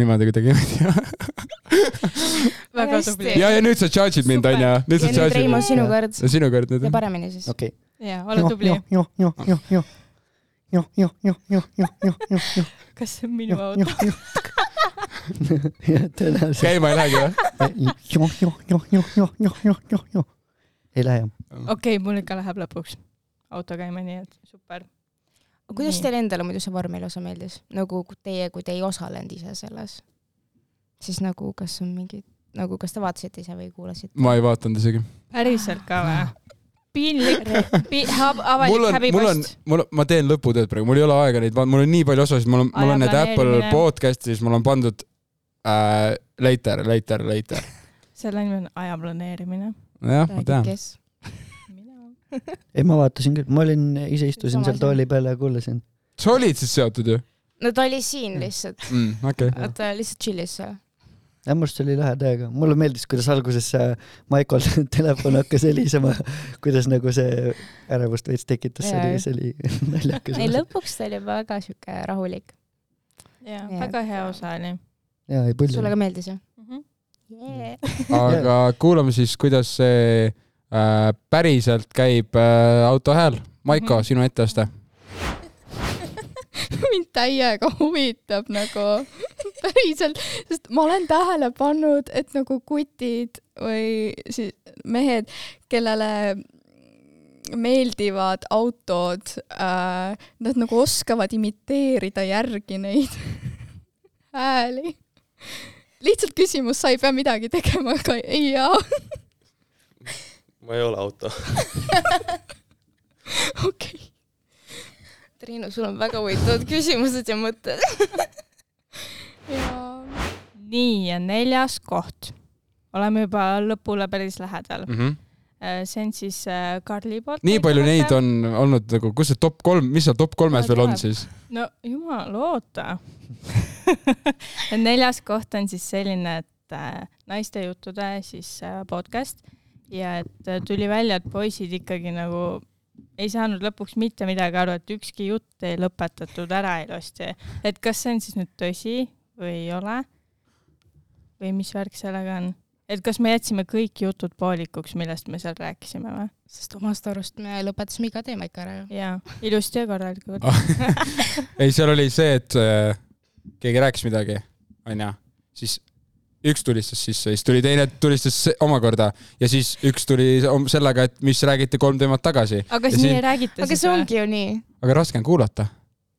A: niimoodi kuidagi , ma ei tea .
D: väga tubli .
A: ja , ja nüüd sa charge'id mind , onju . nüüd sa
E: ja nüüd
A: charge'id
E: Reimo ,
A: mind .
E: sinu kord
A: see on sinu kord nüüd
E: ja . paremini siis .
B: okei .
D: jaa , ole tubli .
B: joh , joh , joh , joh , joh , joh , joh , joh , joh , joh , joh , joh ,
D: kas see on minu
B: joh , joh ,
D: auto ?
B: joh . ja tõenäoliselt .
A: käima ei lähegi või ?
B: joh , joh , joh , joh , joh , joh , joh , joh , joh . ei lähe jah .
D: okei okay, , mul ikka läheb lõpuks auto käima , nii et super .
E: kuidas
D: Nii.
E: teile endale muidu see vormeli osa meeldis , nagu ku- teie , kui te ei osalenud ise selles , siis nagu kas on mingid , nagu kas te vaatasite ise või kuulasite ?
A: ma ei vaadanud isegi .
D: päriselt ka või ?
A: Ah.
D: piinlik Pi ,
A: mul on ,
D: avalik
A: mul on
D: häbipost .,
A: mul , ma teen lõputööd praegu , mul ei ole aega neid , mul on nii palju osasid , mul on , mul
D: Aja
A: on need Apple
D: planeerimine.
A: podcast'is , mul on pandud äh, later , later , later .
D: selle nimi on aja planeerimine .
A: jah , ma tean .
E: kes ?
D: mina .
B: ei , ma vaatasin küll , ma olin , ise istusin
E: Sama
B: seal
E: siin.
B: tooli peal ja kuulasin .
A: sa olid siis seotud ju
E: no ta oli siin lihtsalt .
A: mm, ? okei okay. .
E: vaata lihtsalt chill'is seal .
B: jah , minu arust oli lahe täiega , mulle meeldis , kuidas alguses see Michael telefon hakkas helisema , kuidas nagu see ärevust veits tekitas , see oli , see oli naljakas
E: ei . lõpuks ta oli juba väga sihuke rahulik .
D: jaa
E: Nii ,
D: väga
E: et-
D: hea osa oli
B: jaa , ei põldu
E: sulle . ka meeldis jah
D: mm . -hmm.
E: yeah. ?
A: aga kuulame siis , kuidas see äh, päriselt käib äh, auto hääl . Maiko mm ,
D: Mhm.
A: -hmm. sinu etteaste .
K: mind täiega huvitab nagu päriselt , sest ma olen tähele pannud , et nagu kutid või siis mehed , kellele meeldivad autod äh, , nad nagu oskavad imiteerida järgi neid hääli . lihtsalt küsimus , sa ei pea midagi tegema , aga ei jaa .
L: ma ei ole auto .
K: okei okay. .
E: Triinu , sul on väga huvitavad küsimused ja mõtted .
K: jaa .
D: nii , ja neljas koht . oleme juba lõpule päris lähedal mm .
A: Mhm.
D: -hmm. see on siis äh, Karli poolt .
A: nii palju neid . on olnud nagu , kus see top kolm , mis seal top kolmes veel on siis ?
D: no jumal , oota . neljas koht on siis selline , et äh, naiste juttude siis äh, podcast ja et äh, tuli välja , et poisid ikkagi nagu ei saanud lõpuks mitte midagi aru , et ükski jutt ei lõpetatud ära ilusti . et kas see on siis nüüd tõsi või ei ole ? või mis värk sellega on ? et kas me jätsime kõik jutud poolikuks , millest me seal rääkisime või ?
E: sest omast arust me lõpetasime iga teema ikka ära ju .
D: jaa , ilusti ja korralikult .
A: ei , seal oli see , et äh, keegi rääkis midagi , onju , siis üks tulistas sisse , siis tuli teine tulistas se- omakorda ja siis üks tuli om- sellega , et mis räägiti kolm teemat tagasi .
D: aga kas nii ei räägita
E: aga
D: siis
E: see
D: või ?
E: ongi ju nii .
A: aga raske on kuulata .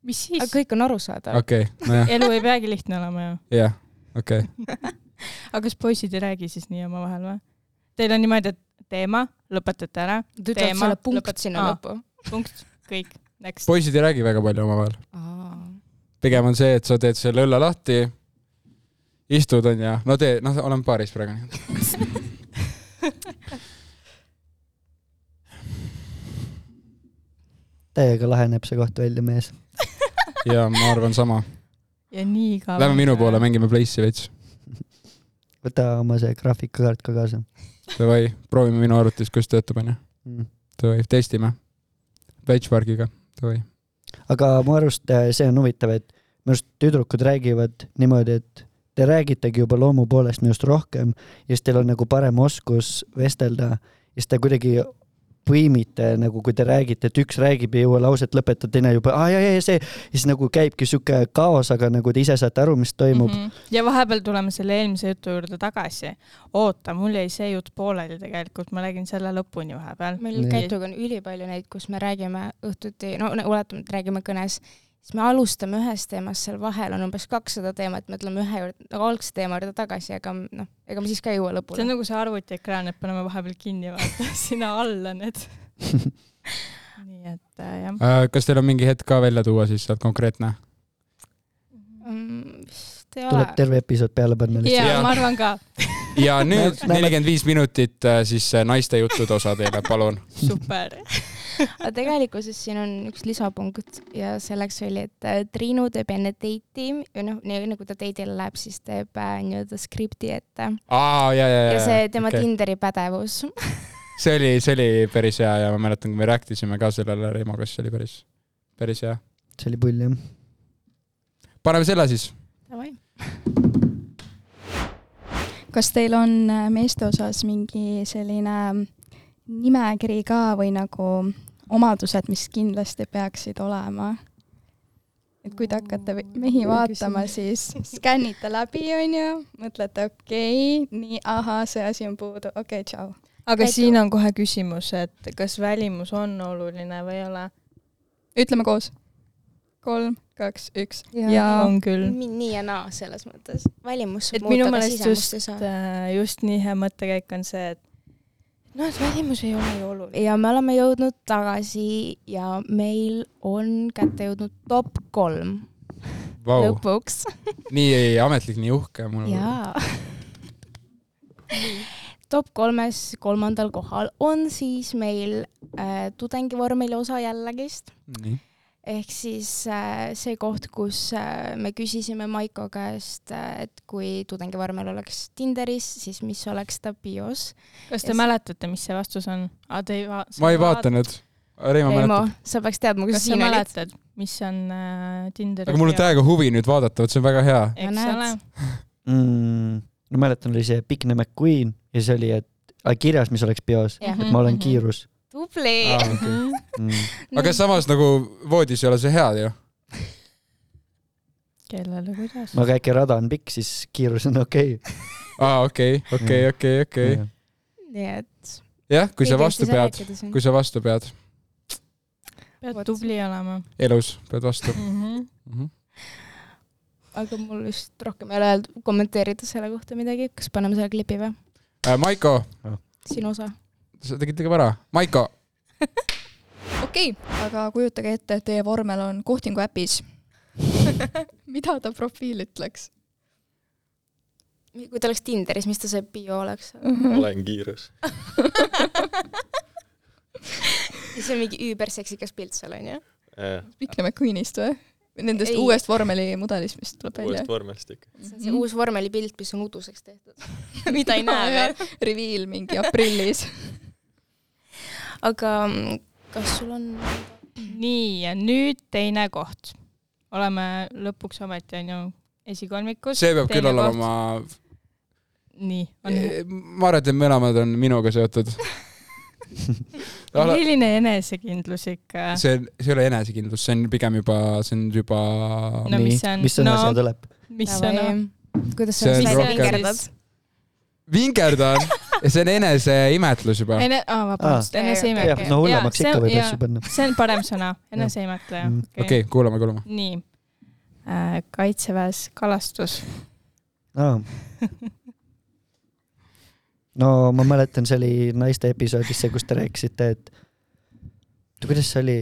D: mis siis
E: aga ? kõik on arusaadav okay. .
A: okei okay, , nojah ,
D: elu ei peagi lihtne olema ju .
A: jah , okei okay. .
D: aga kas poisid ei räägi siis nii omavahel või ? Teil on niimoodi , et teema , lõpetate ära ,
E: ta ütleb
D: Teema
E: sulle punkt
D: lõpet-
E: sinna
D: aa.
E: lõppu .
D: punkt , kõik , next .
A: poisid ei räägi väga palju omavahel ,
E: aa ,
A: pigem on see , et sa teed selle õlle lahti , istud onju , no tee , noh , olen paaris praegu .
B: täiega laheneb see koht välja , mees .
A: ja ma arvan sama .
D: ja nii ka .
A: Lähme minu poole , mängime Plays'i veits .
B: võta oma see graafikakaart ka kaasa .
A: Davai , proovime minu arvutis , kuidas töötab , onju
B: Mm. .
A: Davai , testime . Benchmarkiga , davai .
B: aga mu arust äh, see on huvitav , et minu arust tüdrukud räägivad niimoodi , et te räägitegi juba loomu poolest minust rohkem ja siis teil on nagu parem oskus vestelda ja siis te kuidagi põimite nagu , kui te räägite , et üks räägib , ei jõua lauset lõpetada , teine juba aa ja , ja , ja see , ja siis nagu käibki sihuke kaos , aga nagu te ise saate aru , mis
D: Mhm.
B: toimub mm . -hmm.
D: ja vahepeal tuleme selle eelmise jutu juurde tagasi . oota , mul jäi see jutt pooleli tegelikult , ma räägin selle lõpuni vahepeal .
E: meil Kätuga on ülipalju neid , kus me räägime õhtuti , no no oletame , et räägime kõnes , siis me alustame ühest teemast , seal vahel on umbes kakssada teemat , me tuleme ühe juurde , nagu algse teema juurde tagasi , aga m- noh , ega me siis ka ei jõua
D: see
E: lõpule
D: on . nagu see arvutiekraan , et paneme vahepeal kinni , vaata sinna alla need . nii et äh, jah .
A: kas teil on mingi hetk ka välja tuua siis sealt konkreetne ?
E: Mm, vist ei ole
B: tuleb . terve episood peale panna lihtsalt .
D: ja ma arvan ka .
A: ja nüüd nelikümmend viis minutit äh, siis see naiste jutud osa teile , palun .
D: super .
E: aga tegelikkuses siin on üks lisapunkt ja selleks oli , et äh, Triinu teeb enne date'i või noh , enne kui ta date'ile läheb , siis teeb äh, nii-öelda skripti ette .
A: aa , ja , ja , ja .
E: ja see tema okay. . Tinderi pädevus .
A: see oli , see oli päris hea ja ma mäletan , kui me rääkisime ka sellele Reimoga , siis see oli päris , päris hea .
B: see oli pull jah .
A: paneme selle siis .
K: kas teil on äh, meeste osas mingi selline mm, nimekiri ka või nagu omadused , mis kindlasti peaksid olema ? et kui te hakkate ve- mehi vaatama , siis skännite läbi , onju , mõtlete okei okay, , nii , ahah , see asi on puudu , okei okay, , tšau .
D: aga siin on kohe küsimus , et kas välimus on oluline või ei ole ?
K: ütleme koos . kolm , kaks , üks
D: Jaa. On küll.
E: nii ja naa selles mõttes . välimus
D: et
E: saab
D: minu
E: muuta , aga
D: meelest
E: sisemust
D: just äh,
E: ei saa .,
D: just nii hea mõttekäik on see , et noh , et välimus ei ole ju oluline .
E: ja me oleme jõudnud tagasi ja meil on kätte jõudnud top kolm
A: Vau. Mm.
E: lõpuks
A: nii ametlik , nii uhke .
E: jaa . top kolmes kolmandal kohal on siis meil äh, tudengivormeli osa jällegist
A: Nii. .
E: ehk siis äh, see koht , kus äh, me küsisime Maiko käest äh, , et kui tudengivormel oleks Tinderis , siis mis oleks ta bios .
D: kas te mäletate , mis see vastus on ? Te ei va- .
A: ma ei vaatanud . Reimo
E: Reimo
A: mäletab .,
E: sa peaks teadma , kus
D: kas sa
E: sina olid .
D: mäletad , mis on äh, Tinderi ?
A: aga mul on täiega huvi nüüd vaadata , vot see on väga hea .
D: eks
E: Näed.
D: ole .
B: mm, . ma mäletan , oli see Pikne McQueen ja see oli , et aga kirjas , mis oleks peos
E: Jah.
B: yeah. , et ma olen kiirus Mm.
E: tubli
A: Aa,
E: Mhm.
A: okei. aga samas nagu voodis ei ole see hea ju .
D: kellele , kuidas ?
B: aga äkki rada on pikk , siis kiirus on okei okay. .
A: aa , okei , okei , okei , okei .
E: nii et
A: jah , kui sa
E: Ei tea,
A: vastu
E: mis sa
A: pead
E: rääkida siin. ,
A: kui sa vastu pead ,
D: pead tubli olema .
A: elus pead vastu .
D: Mhm.
E: aga mul vist rohkem ei ole öelda , kommenteerida selle kohta midagi , kas paneme selle klipi või ?
A: Äh, Maiko ,
E: sinu osa .
A: sa tegid liiga vara . Maiko ,
K: okei okay. , aga kujutage ette , et teie vormel on kohtingu äpis . mida ta profiil ütleks ?
E: kui ta oleks Tinderis , mis ta see bio oleks ?
L: olen kiirus .
E: ja see on mingi üüberseksikas pilt seal onju .
K: Pikne McQueenist või ? Nendest
E: Ei.
K: ei. uuest vormelimudelist , mis tuleb välja
L: uuest . vormelist ikka .
E: see on see uus vormelipilt , mis on uduseks tehtud , Mhm. mida ei näe veel .
K: veel . Reveal mingi aprillis .
E: aga mm, kas sul on ?
D: nii , ja nüüd teine koht . oleme lõpuks ometi onju esikolmikus .
A: see peab küll olema , Eh,
D: nii , on hea .
A: ma arvan , et need mõlemad on minuga seotud . see
D: milline enesekindlus ikka .
A: on , see ei ole enesekindlus , see on pigem juba , see on juba
D: No mis see on?
B: mis sõna
D: No.
B: no. seal tuleb ?
D: mis sõna ??
E: kuidas
A: See
E: sa
A: on
E: ennast välja
A: rohkem-
E: vingerdad ?
A: vingerdan , see on eneseimetlus juba .
D: Ene- , aa vabandust ,
E: Aa.
D: eneseimetle
B: Jah, . no hullemaks ikka võib asju panna.
D: see on parem sõna , eneseimetle .
B: Mm,
A: okei , kuulame , kuulame .
D: nii , kaitseväes kalastus .
B: aa . no ma mäletan , see oli naiste episoodis see , kus te rääkisite , et oota, kuidas see oli ?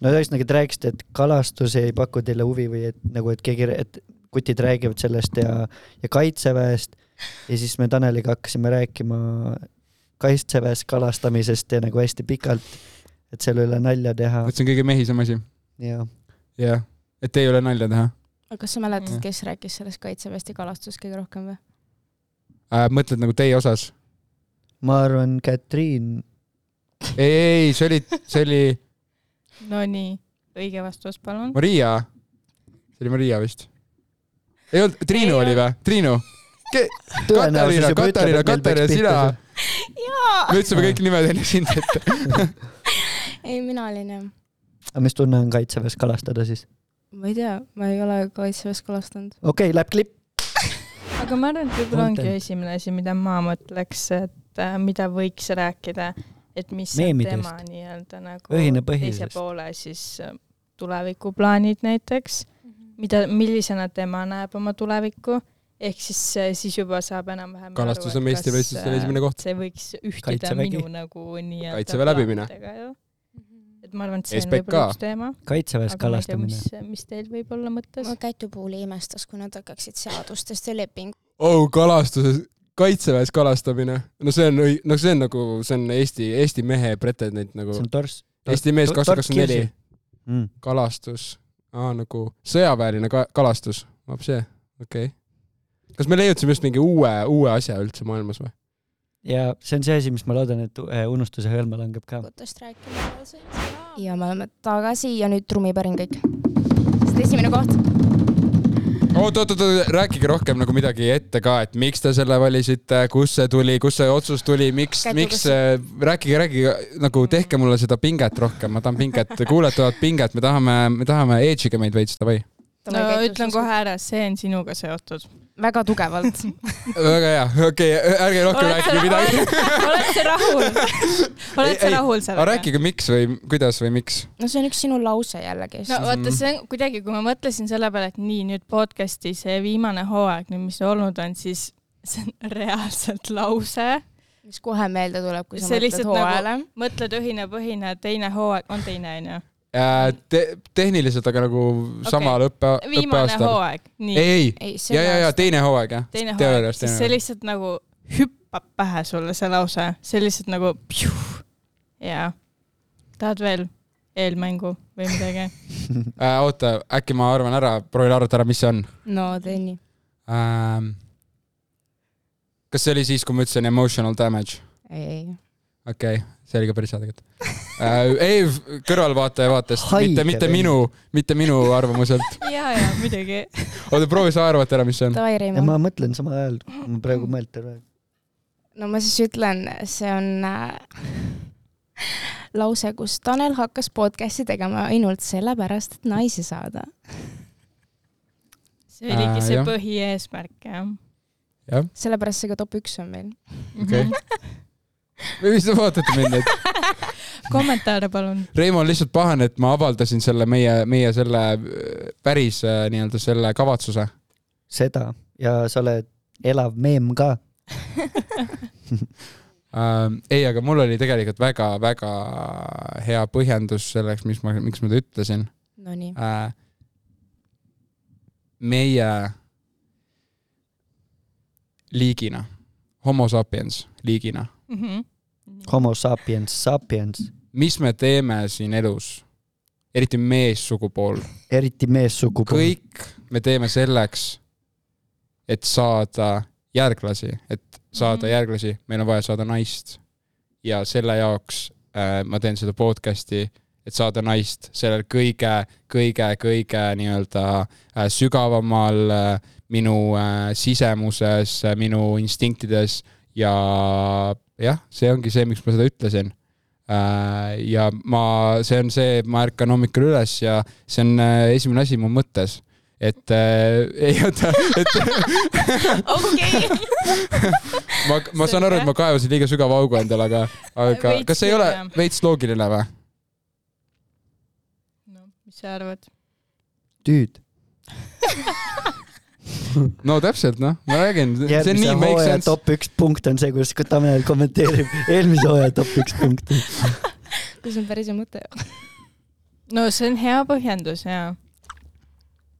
B: no ühesõnaga , te rääkisite , et kalastus ei paku teile huvi või et nagu , et keegi , et kutid räägivad sellest ja , ja kaitseväest ja siis me Taneliga hakkasime rääkima kaitseväes kalastamisest ja nagu hästi pikalt , et selle üle nalja teha
A: et see on kõige mehisem asi .
B: ja
A: jah , et ei ole nalja teha .
E: aga kas sa mäletad , kes rääkis sellest kaitseväest ja kalastusest kõige rohkem või ?
A: äh, mõtled nagu teie osas ?
B: ma arvan , Katriin .
A: ei , ei , see oli , see oli
D: Nonii , õige vastus , palun .
A: Maria . see oli Maria vist . ei olnud , Triinu oli või ? Triinu ? Katariina , Katariina , Katariina , sina . me ütlesime kõik nimed enne sind , et
E: ei , mina olin jah .
B: aga mis tunne on kaitseväes kalastada siis ?
E: ma ei tea , ma ei ole kaitseväes kalastanud .
B: okei okay, , läheb klipp .
D: aga ma arvan , et võib-olla ongi
B: Content.
D: esimene asi , mida ma mõtleks , et äh, mida võiks rääkida , et mis
B: Meemidest.
D: on tema nii-öelda
B: Ühine
D: nagu teise
B: põhilisest.
D: poole siis äh, tulevikuplaanid näiteks , mida , millisena tema näeb oma tulevikku , ehk siis , siis juba saab enam-vähem aru,
A: Kalastus
D: et
A: on Eesti
D: kas,
A: meistrivõistlustel
D: äh,
A: esimene koht.
D: see võiks ühtida
A: Kaitsevägi.
D: minu nagu nii-öelda
A: Kaitseväe läbimine.
D: plaanidega, jah.
E: Mm-hmm.
D: et ma arvan , et see on
A: SBK.
D: võib-olla üks teema .
B: Kaitseväes kalastamine. .
D: mis teil võib olla mõttes ?
E: ma Kätu puhul imestas , kui nad hakkaksid seadustest ja leping- .
A: oh , kalastuses , kaitseväes kalastamine . no see on , no see on nagu , see on Eesti , Eesti mehe pretendent nagu .
B: see on torss .
A: Eesti mees kaks tuhat kakskümmend neli .
B: Mm.
A: kalastus , aa nagu sõjaväeline ka kalastus , vaat see , okei okay. . kas me leiutasime just mingi uue , uue asja üldse maailmas või ?
B: ja see on see asi , mis ma loodan , et eh, unustuse hõlma langeb ka .
E: autost rääkima . ja me oleme tagasi ja nüüd trummipärin kõik . sest esimene koht .
A: oot , oot , oot , rääkige rohkem nagu midagi ette ka , et miks te selle valisite , kust see tuli , kust see otsus tuli , miks ,
E: Kätu,
A: miks
E: kas see- ,
A: rääkige , rääkige nagu tehke mulle seda pinget rohkem , ma tahan pinget , kuulajad tahavad pinget , me tahame , me tahame , edge'ige meid veits , davai .
D: no ütlen kohe ära , see on sinuga seotud .
E: väga tugevalt .
A: väga hea , okei okay, , ärge rohkem rääkige midagi .
D: oled sa rahul ? oled sa rahul
A: aga
D: sellega ?
A: rääkige , miks või kuidas või miks ?
E: no see on üks sinu lause jällegi .
A: Mm.
D: no vaata , see on kuidagi , kui ma mõtlesin selle peale , et nii nüüd podcast'i see viimane hooaeg nüüd , mis olnud on , siis see on reaalselt lause .
E: mis kohe meelde tuleb , kui sa
D: see
E: mõtled
D: lihtsalt
E: hooajale
D: nagu . mõtled õhinapõhine , teine hooaeg on teine onju .
A: Äh, Te, tehniliselt , aga nagu okay. samal õppe ,
D: viimane
A: õppeaastal .
D: hooaeg , nii .
A: ei , ei
D: Ei, ,
A: ja ,
D: selle
A: ja , ja teine hooaeg jah .
D: teine hooaeg , siis see lihtsalt nagu hüppab pähe sulle see lause , see lihtsalt nagu pjuh. jaa . tahad veel eelmängu või midagi ?
A: äh, . oota , äkki ma arvan ära , proovin arvata ära , mis see on
E: no tee nii .
A: ähm, . kas see oli siis , kui ma ütlesin emotional damage ?
E: ei , ei .
A: okei okay, , see oli ka päris hea tegelikult äh, . ei , kõrvalvaataja vaatest ,
B: Haige
A: mitte , mitte
B: vend.
A: minu , mitte minu Nagu arvamuselt .
D: ja , ja muidugi .
A: oota , proovi sa arvata ära , mis see on .
E: Davai ,
B: ja
E: Reimo .
B: ma mõtlen samal ajal , ma
D: Mm.
B: praegu mõelt ei räägi .
E: no ma siis ütlen , see on äh, lause , kus Tanel hakkas podcast'i tegema ainult sellepärast , et naisi saada .
D: see oligi
A: Äh,
D: see
A: jah.
D: põhieesmärk jah .
A: jah ,
E: sellepärast see ka top üks on meil .
A: okei .
D: Mhm.
A: või mis te vaatate mind , et
D: kommentaare palun .
A: Reimo on lihtsalt pahane , et ma avaldasin selle meie , meie selle äh, päris äh, nii-öelda selle kavatsuse .
B: seda ja sa oled elav meem ka .
A: Ähm, ei , aga mul oli tegelikult väga-väga hea põhjendus selleks , mis ma , miks ma seda ütlesin
E: Nonii .
A: äh, . meie liigina , homo sapiens liigina ,
D: Mhm.
B: Homo sapiens sapiens ,
A: mis me teeme siin elus , eriti meessugupool ,
B: eriti meessugupool .
A: kõik me teeme selleks , et saada järglasi , et saada mm -hmm. järglasi , meil on vaja saada naist . ja selle jaoks äh, ma teen seda podcast'i , et saada naist sellel kõige , kõige , kõige nii-öelda äh, sügavamal äh, minu äh, sisemuses , minu instinktides ja jah , see ongi see , miks ma seda ütlesin äh, ja ma , see on see , ma ärkan hommikul üles ja see on äh, esimene asi mu mõttes , et äh, ei oota , et
D: okei .
A: ma , ma saan aru , et ma kaevasin liiga sügava augu endale , aga , aga
D: Veits
A: kas see ei ole
D: küll, jah.
A: veits loogiline või ?
D: mis sa arvad ?
B: tüüd .
A: no täpselt noh , ma räägin , see on
B: järgmise
A: nii make
B: hooaja
A: sense .
B: top üks punkt on see , kus Tanel kommenteerib eelmise hooaja top üks punkti .
E: kus on päris hea mõte .
D: no see on hea põhjendus jaa .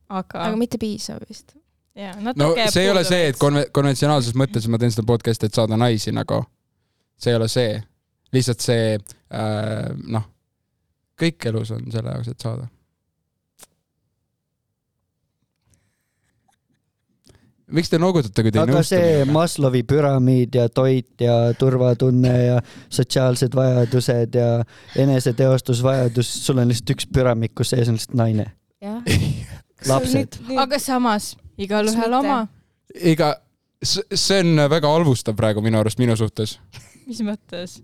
D: aga
E: aga . mitte piisav vist .
D: jaa ,
A: no
D: natuke .
A: see ei ole see , et konve- , konventsionaalses mõttes ma teen seda podcast'i , et saada naisi nagu . see ei ole see , lihtsalt see äh, noh , kõik elus on selle jaoks , et saada . miks te noogutate , kui te ei
B: aga
A: nõustu
B: see
A: minuga?
B: Maslowi püramiid ja toit ja turvatunne ja sotsiaalsed vajadused ja eneseteostusvajadus , sul on lihtsalt üks püramiid , kus sees on lihtsalt naine .
E: jah .
B: lapsed .
D: aga samas , igalühel oma .
A: iga , see on väga halvustav praegu minu arust minu suhtes .
D: mis mõttes ?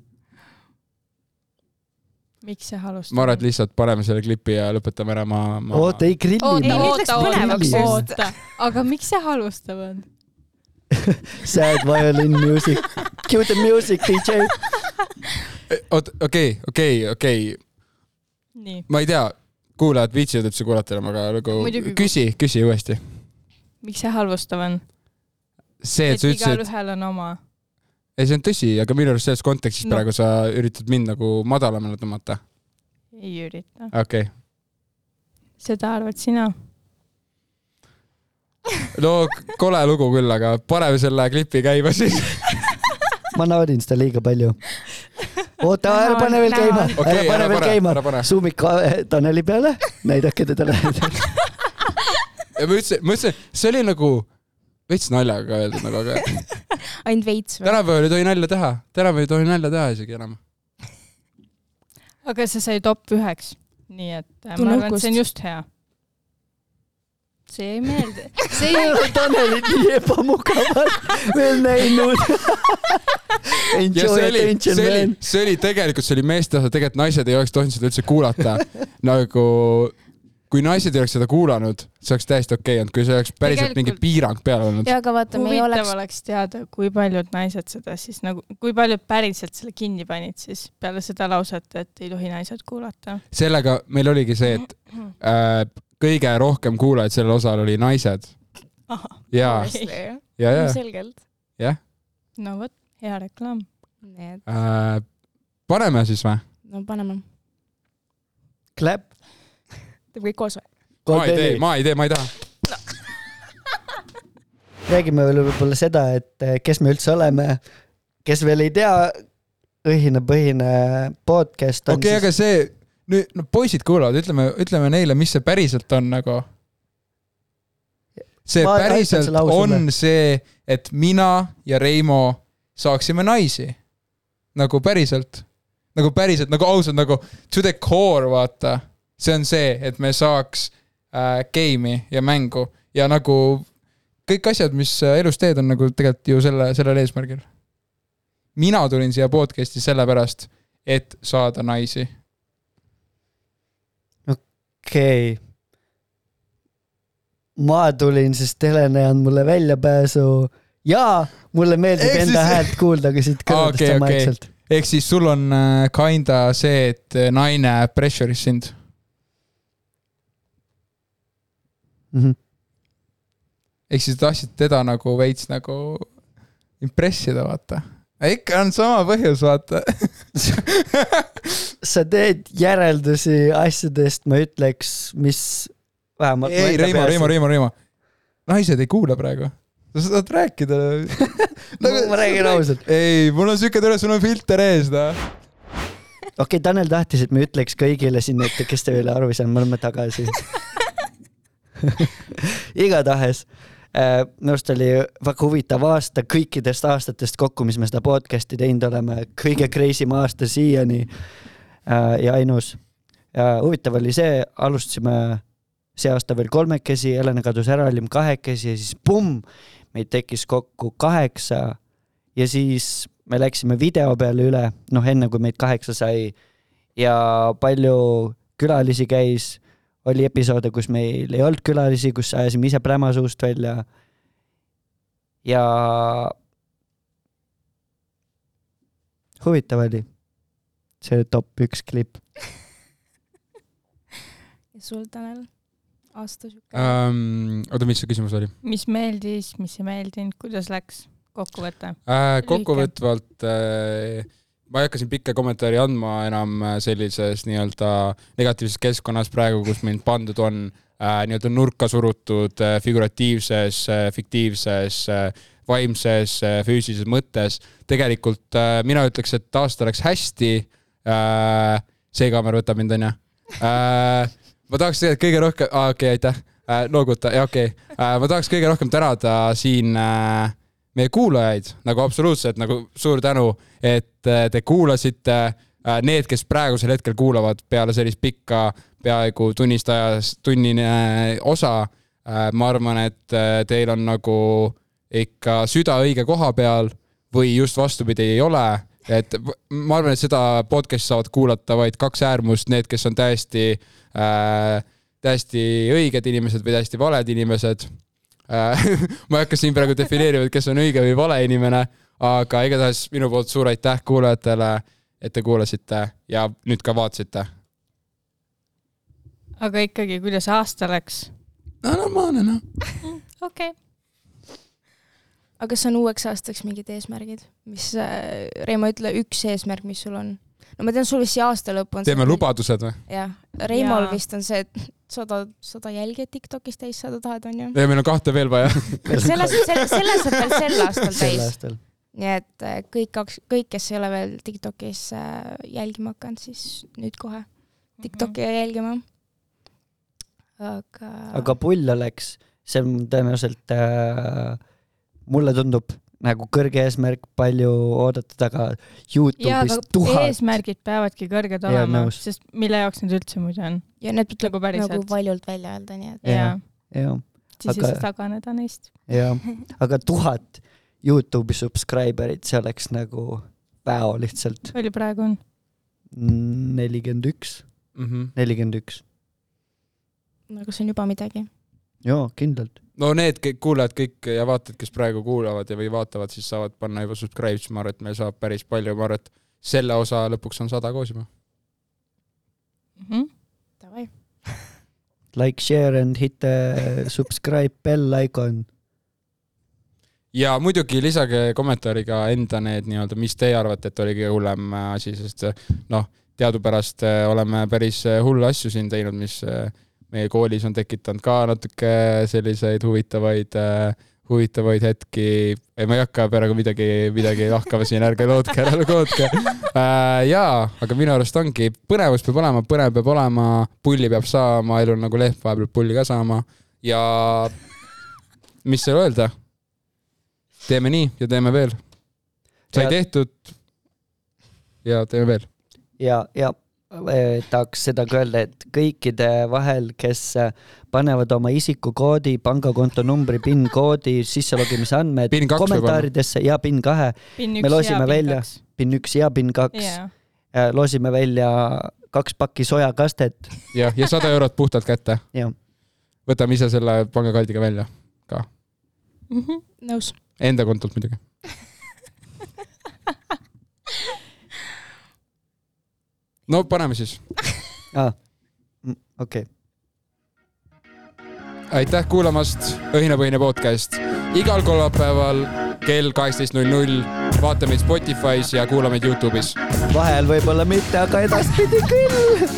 D: miks see halvustab ?
A: ma arvan , et lihtsalt paneme selle klipi ja lõpetame ära , ma, ma... .
B: oota , ei grilli .
D: oota , oota , oota ,
B: just .
D: oota , aga miks see halvustav on ?
B: Sad violin music . Cue the music , DJ .
A: oot , okei , okei , okei ,
D: nii ,
A: ma ei tea , kuulajad viitsivad üldse kuulata enam , aga nagu
D: Muidugi-
A: küsi , küsi uuesti .
D: miks see halvustav on ?
A: see , et sa ütlesid ,
D: igalühel on oma .
A: ei see on tõsi , aga minu arust selles kontekstis
D: No.
A: no. praegu sa üritad mind nagu madalamale tõmmata .
D: ei ürita .
A: okei okay. ,
D: seda arvad sina ?
A: no k- kole lugu küll , aga paneme selle klipi käima siis .
B: ma naudin seda liiga palju . oota , ära
D: Näha
B: pane
D: on-
B: veel
D: näha
B: käima
D: on. ,
A: Okei,
B: ära pane
A: ära
B: veel
A: pane, ära
B: käima
A: pane. .
B: suumik ka- Taneli peale , näidake teda lähedalt .
A: ja ma ütlesin , ma ütlesin , see oli nagu veits naljaga öeldud nagu , aga
E: ainult veits või ?
A: tänapäeval ei tohi nalja teha , tänapäeval ei tohi nalja teha isegi enam .
D: aga sa sai top üheks , nii et äh,
E: Tunne
D: ma arvan , et see on
E: uhkust.
D: just hea . see jäi meelde .
B: see ei ole Tanelit nii ebamugavalt veel näinud .
A: ja
B: Enjoy
A: see oli ,
B: attention
A: see oli
B: man .,
A: see oli tegelikult , see oli meeste osa , tegelikult naised ei oleks tohtinud seda üldse kuulata . nagu , kui naised ei oleks seda kuulanud , see oleks täiesti okei olnud , kui see oleks päriselt mingi
D: Tegelikult-
A: piirang peal olnud .
E: ja , aga vaata , me ei
D: huvitav
E: oleks
D: oleks... , oleks teada , kui paljud naised seda siis nagu , kui paljud päriselt selle kinni panid siis peale seda lauset , et ei tohi naised kuulata .
A: sellega meil oligi see , et äh, kõige rohkem kuulajaid sellel osal oli naised . jaa , ja , ja ,
E: selgelt .
A: jah .
D: no vot , hea reklaam .
E: nii et ,
A: Äh, paneme siis või ?
E: no paneme .
B: Clap .
E: teeme kõik koos või ?
A: ma ei tee , ma ei tee , ma ei taha .
B: räägime veel võib-olla seda , et eh, kes me üldse oleme . kes veel ei tea , õhinapõhine podcast on
A: okei ,
B: okay,
A: aga see , nüüd , no poisid kuulavad , ütleme , ütleme neile , mis see päriselt on nagu . see
B: Ma
A: Ma
B: aitan
A: päriselt
B: selle lause
A: on
B: üle.
A: see , et mina ja Reimo saaksime naisi . nagu päriselt , nagu päriselt , nagu ausalt , nagu to the core , vaata . see on see , et me saaks äh, game'i ja mängu ja nagu kõik asjad , mis äh, elus teed , on nagu tegelikult ju selle , sellel eesmärgil . mina tulin siia podcast'i sellepärast , et saada naisi .
B: siis okei okay. . ma tulin , sest Helen ei andnud mulle väljapääsu ja mulle meeldib
A: Ehk
B: Eks enda
A: siis-
B: siis... häält kuulda ka siit kõrvadest okay,
A: okei , okei
B: samaaegselt okay. .,
A: ehk siis sul on äh, kinda see , et äh, naine pressure'is sind .
B: Mm -hmm.
A: ehk siis tahtsid teda nagu veits nagu impress ida , vaata . ikka on sama põhjus , vaata .
B: sa teed järeldusi asjadest , ma ütleks , mis vähemalt .
A: ei , Reimo , Reimo , Reimo , Reimo . naised ei kuula praegu . sa saad rääkida .
B: ma räägin ausalt .
A: ei , mul on siuke tunne , sul on filter ees , noh .
B: okei okay, , Tanel tahtis , et me ütleks kõigile siin , et kes te veel aru ei saanud , me oleme tagasi . igatahes , minu arust oli väga huvitav aasta kõikidest aastatest kokku , mis me seda podcast'i teinud oleme , kõige crazy im aasta siiani äh, ja ainus . huvitav oli see , alustasime see aasta veel kolmekesi , Helena kadus ära , olime kahekesi ja siis pumm , meid tekkis kokku kaheksa ja siis me läksime video peale üle , noh , enne kui meid kaheksa sai ja palju külalisi käis , oli episoode , kus meil ei olnud külalisi , kus ajasime ise pläma suust välja . ja huvitav oli see top üks klipp .
E: ja sul , Tanel ? aasta sihuke uh. .
A: Ehm, oota , mis see küsimus oli ?
D: mis meeldis , mis ei meeldinud , kuidas läks ? kokkuvõte .
A: äh, . kokkuvõtvalt äh, ma ei hakka siin pikka kommentaari andma enam äh, sellises nii-öelda negatiivses keskkonnas praegu , kus mind pandud on äh, nii-öelda nurka surutud äh, figuratiivses äh, , fiktiivses äh, , vaimses äh, , füüsilises mõttes . tegelikult äh, mina ütleks , et aasta läks hästi äh, . see kaamera võtab mind , onju äh, . ma tahaks tegelikult kõige rohkem ah, , okei okay, , aitäh äh, nooguta , jaa okei okay. äh, . ma tahaks kõige rohkem tänada siin äh, meie kuulajaid nagu absoluutselt nagu suur tänu , et äh, te kuulasite äh, . Need , kes praegusel hetkel kuulavad peale sellist pikka , peaaegu tunnist ajas , tunnine äh, osa äh, , ma arvan , et äh, teil on nagu ikka süda õige koha peal või just vastupidi ei ole , et v- ma arvan , et seda podcast'i saavad kuulata vaid kaks äärmust , need , kes on täiesti äh, , täiesti õiged inimesed või täiesti valed inimesed äh, . ma ei hakka siin praegu defineerima , et kes on õige või vale inimene , aga igatahes minu poolt suur aitäh kuulajatele , et te kuulasite ja nüüd ka vaatasite .
D: aga ikkagi , kuidas aasta läks ?
A: no normaalne noh .
D: okei .
E: aga kas on uueks aastaks mingid eesmärgid , mis , Reimo , ütle üks eesmärk , mis sul on . no ma tean , sul vist see aasta lõpp on .
A: teeme . lubadused või ?
E: jah , Reimol
D: Jaa.
E: vist on see , et sada , sada jälgijat Tiktokis täis saada tahad , onju .
A: ja meil on kahte veel vaja .
E: selle , selle , selle saab veel sel aastal
B: sel
E: täis .
B: aastal .
E: nii et äh, kõik kaks , kõik , kes ei ole veel Tiktokis äh, jälgima hakanud , siis nüüd kohe
D: Mhm.
E: Tiktoki mm -hmm. jälgima . aga,
B: aga pull oleks , see on tõenäoliselt äh, , mulle tundub nagu kõrge eesmärk , palju oodatud , aga
D: ja , aga
B: Youtube'is tuhat .
D: eesmärgid peavadki kõrged
B: Jaa,
D: olema ,
B: nõus.
D: sest mille jaoks need üldse muidu on ?
E: ja need
D: nagu
E: nagu
D: päriselt .
E: valjult välja öelda , nii et
D: jaa ,
B: jah ,
D: siis ei
B: Aga-
D: saa taganeda neist .
B: jah , aga tuhat Youtube'i subscriber'it , see oleks nagu päo lihtsalt .
D: palju praegu on ?
B: nelikümmend üks ,
A: Mhm.
B: nelikümmend üks .
E: no kas Nagu on juba midagi ?
B: jaa , kindlalt .
A: no need kõik kuulajad kõik ja vaatajad , kes praegu kuulavad ja , või vaatavad , siis saavad panna juba subscribe , siis ma arvan , et meil saab päris palju , ma arvan , et selle osa lõpuks on sada koos juba .
E: Davai .
B: Like , share and hit the subscribe bell icon .
A: ja muidugi lisage kommentaariga enda need nii-öelda , mis teie arvate , et oli kõige hullem äh, asi , sest äh, noh , teadupärast äh, oleme päris äh, hulle asju siin teinud , mis äh, meie koolis on tekitanud ka natuke selliseid huvitavaid , huvitavaid hetki . ei , ma ei hakka praegu midagi , midagi lahkama siin , ärge lootke , ärge lootke . Äh, jaa , aga minu arust ongi , põnevus peab olema , põnev peab olema , pulli peab saama , elul nagu lehm vahepeal peab pulli ka saama ja mis seal öelda teeme nii ja teeme veel . sai
B: Ja-
A: tehtud . ja teeme veel .
B: ja , ja eh, tahaks seda ka öelda , et kõikide vahel , kes eh, panevad oma isikukoodi , pangakonto numbri , PIN koodi , sisselogimise andmed
A: PIN kaks võib-olla.
B: kommentaaridesse ja PIN kahe .
D: PIN
B: me
D: üks ja
B: loosime
D: PIN
B: välja
D: kaks.
B: PIN üks ja PIN kaks äh,
D: Jaa. .
B: loosime välja kaks pakki sojakastet .
A: jah , ja sada eurot puhtalt kätte
B: Jah. .
A: võtame ise selle pangakaldiga välja ka ,
B: Mhm.
E: nõus .
A: enda kontolt muidugi . no paneme siis ,
B: Ah, mm, okei ,
A: aitäh kuulamast , Õhinapõhine podcast igal kolmapäeval kell kaheksateist null null . vaata meid Spotify's ja kuula meid Youtube'is .
B: vahel võib-olla mitte , aga edaspidi küll .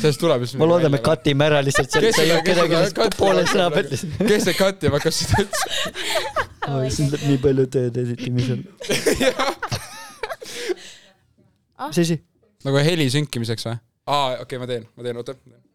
A: sellest tuleb just .
B: ma loodan , me cut ime ära lihtsalt ,
A: Kes
B: see ei
A: seda-
B: ole kedagi ,
A: kes seda
B: kes
A: cut-
B: poole sõna pealt lihtsalt .
A: kes see cut ima hakkas seda üldse ?
B: siin läheb nii palju tööd editimisel . mis asi ?
A: nagu heli sünkimiseks või ? aa , okei okay, , ma teen , ma teen , oota .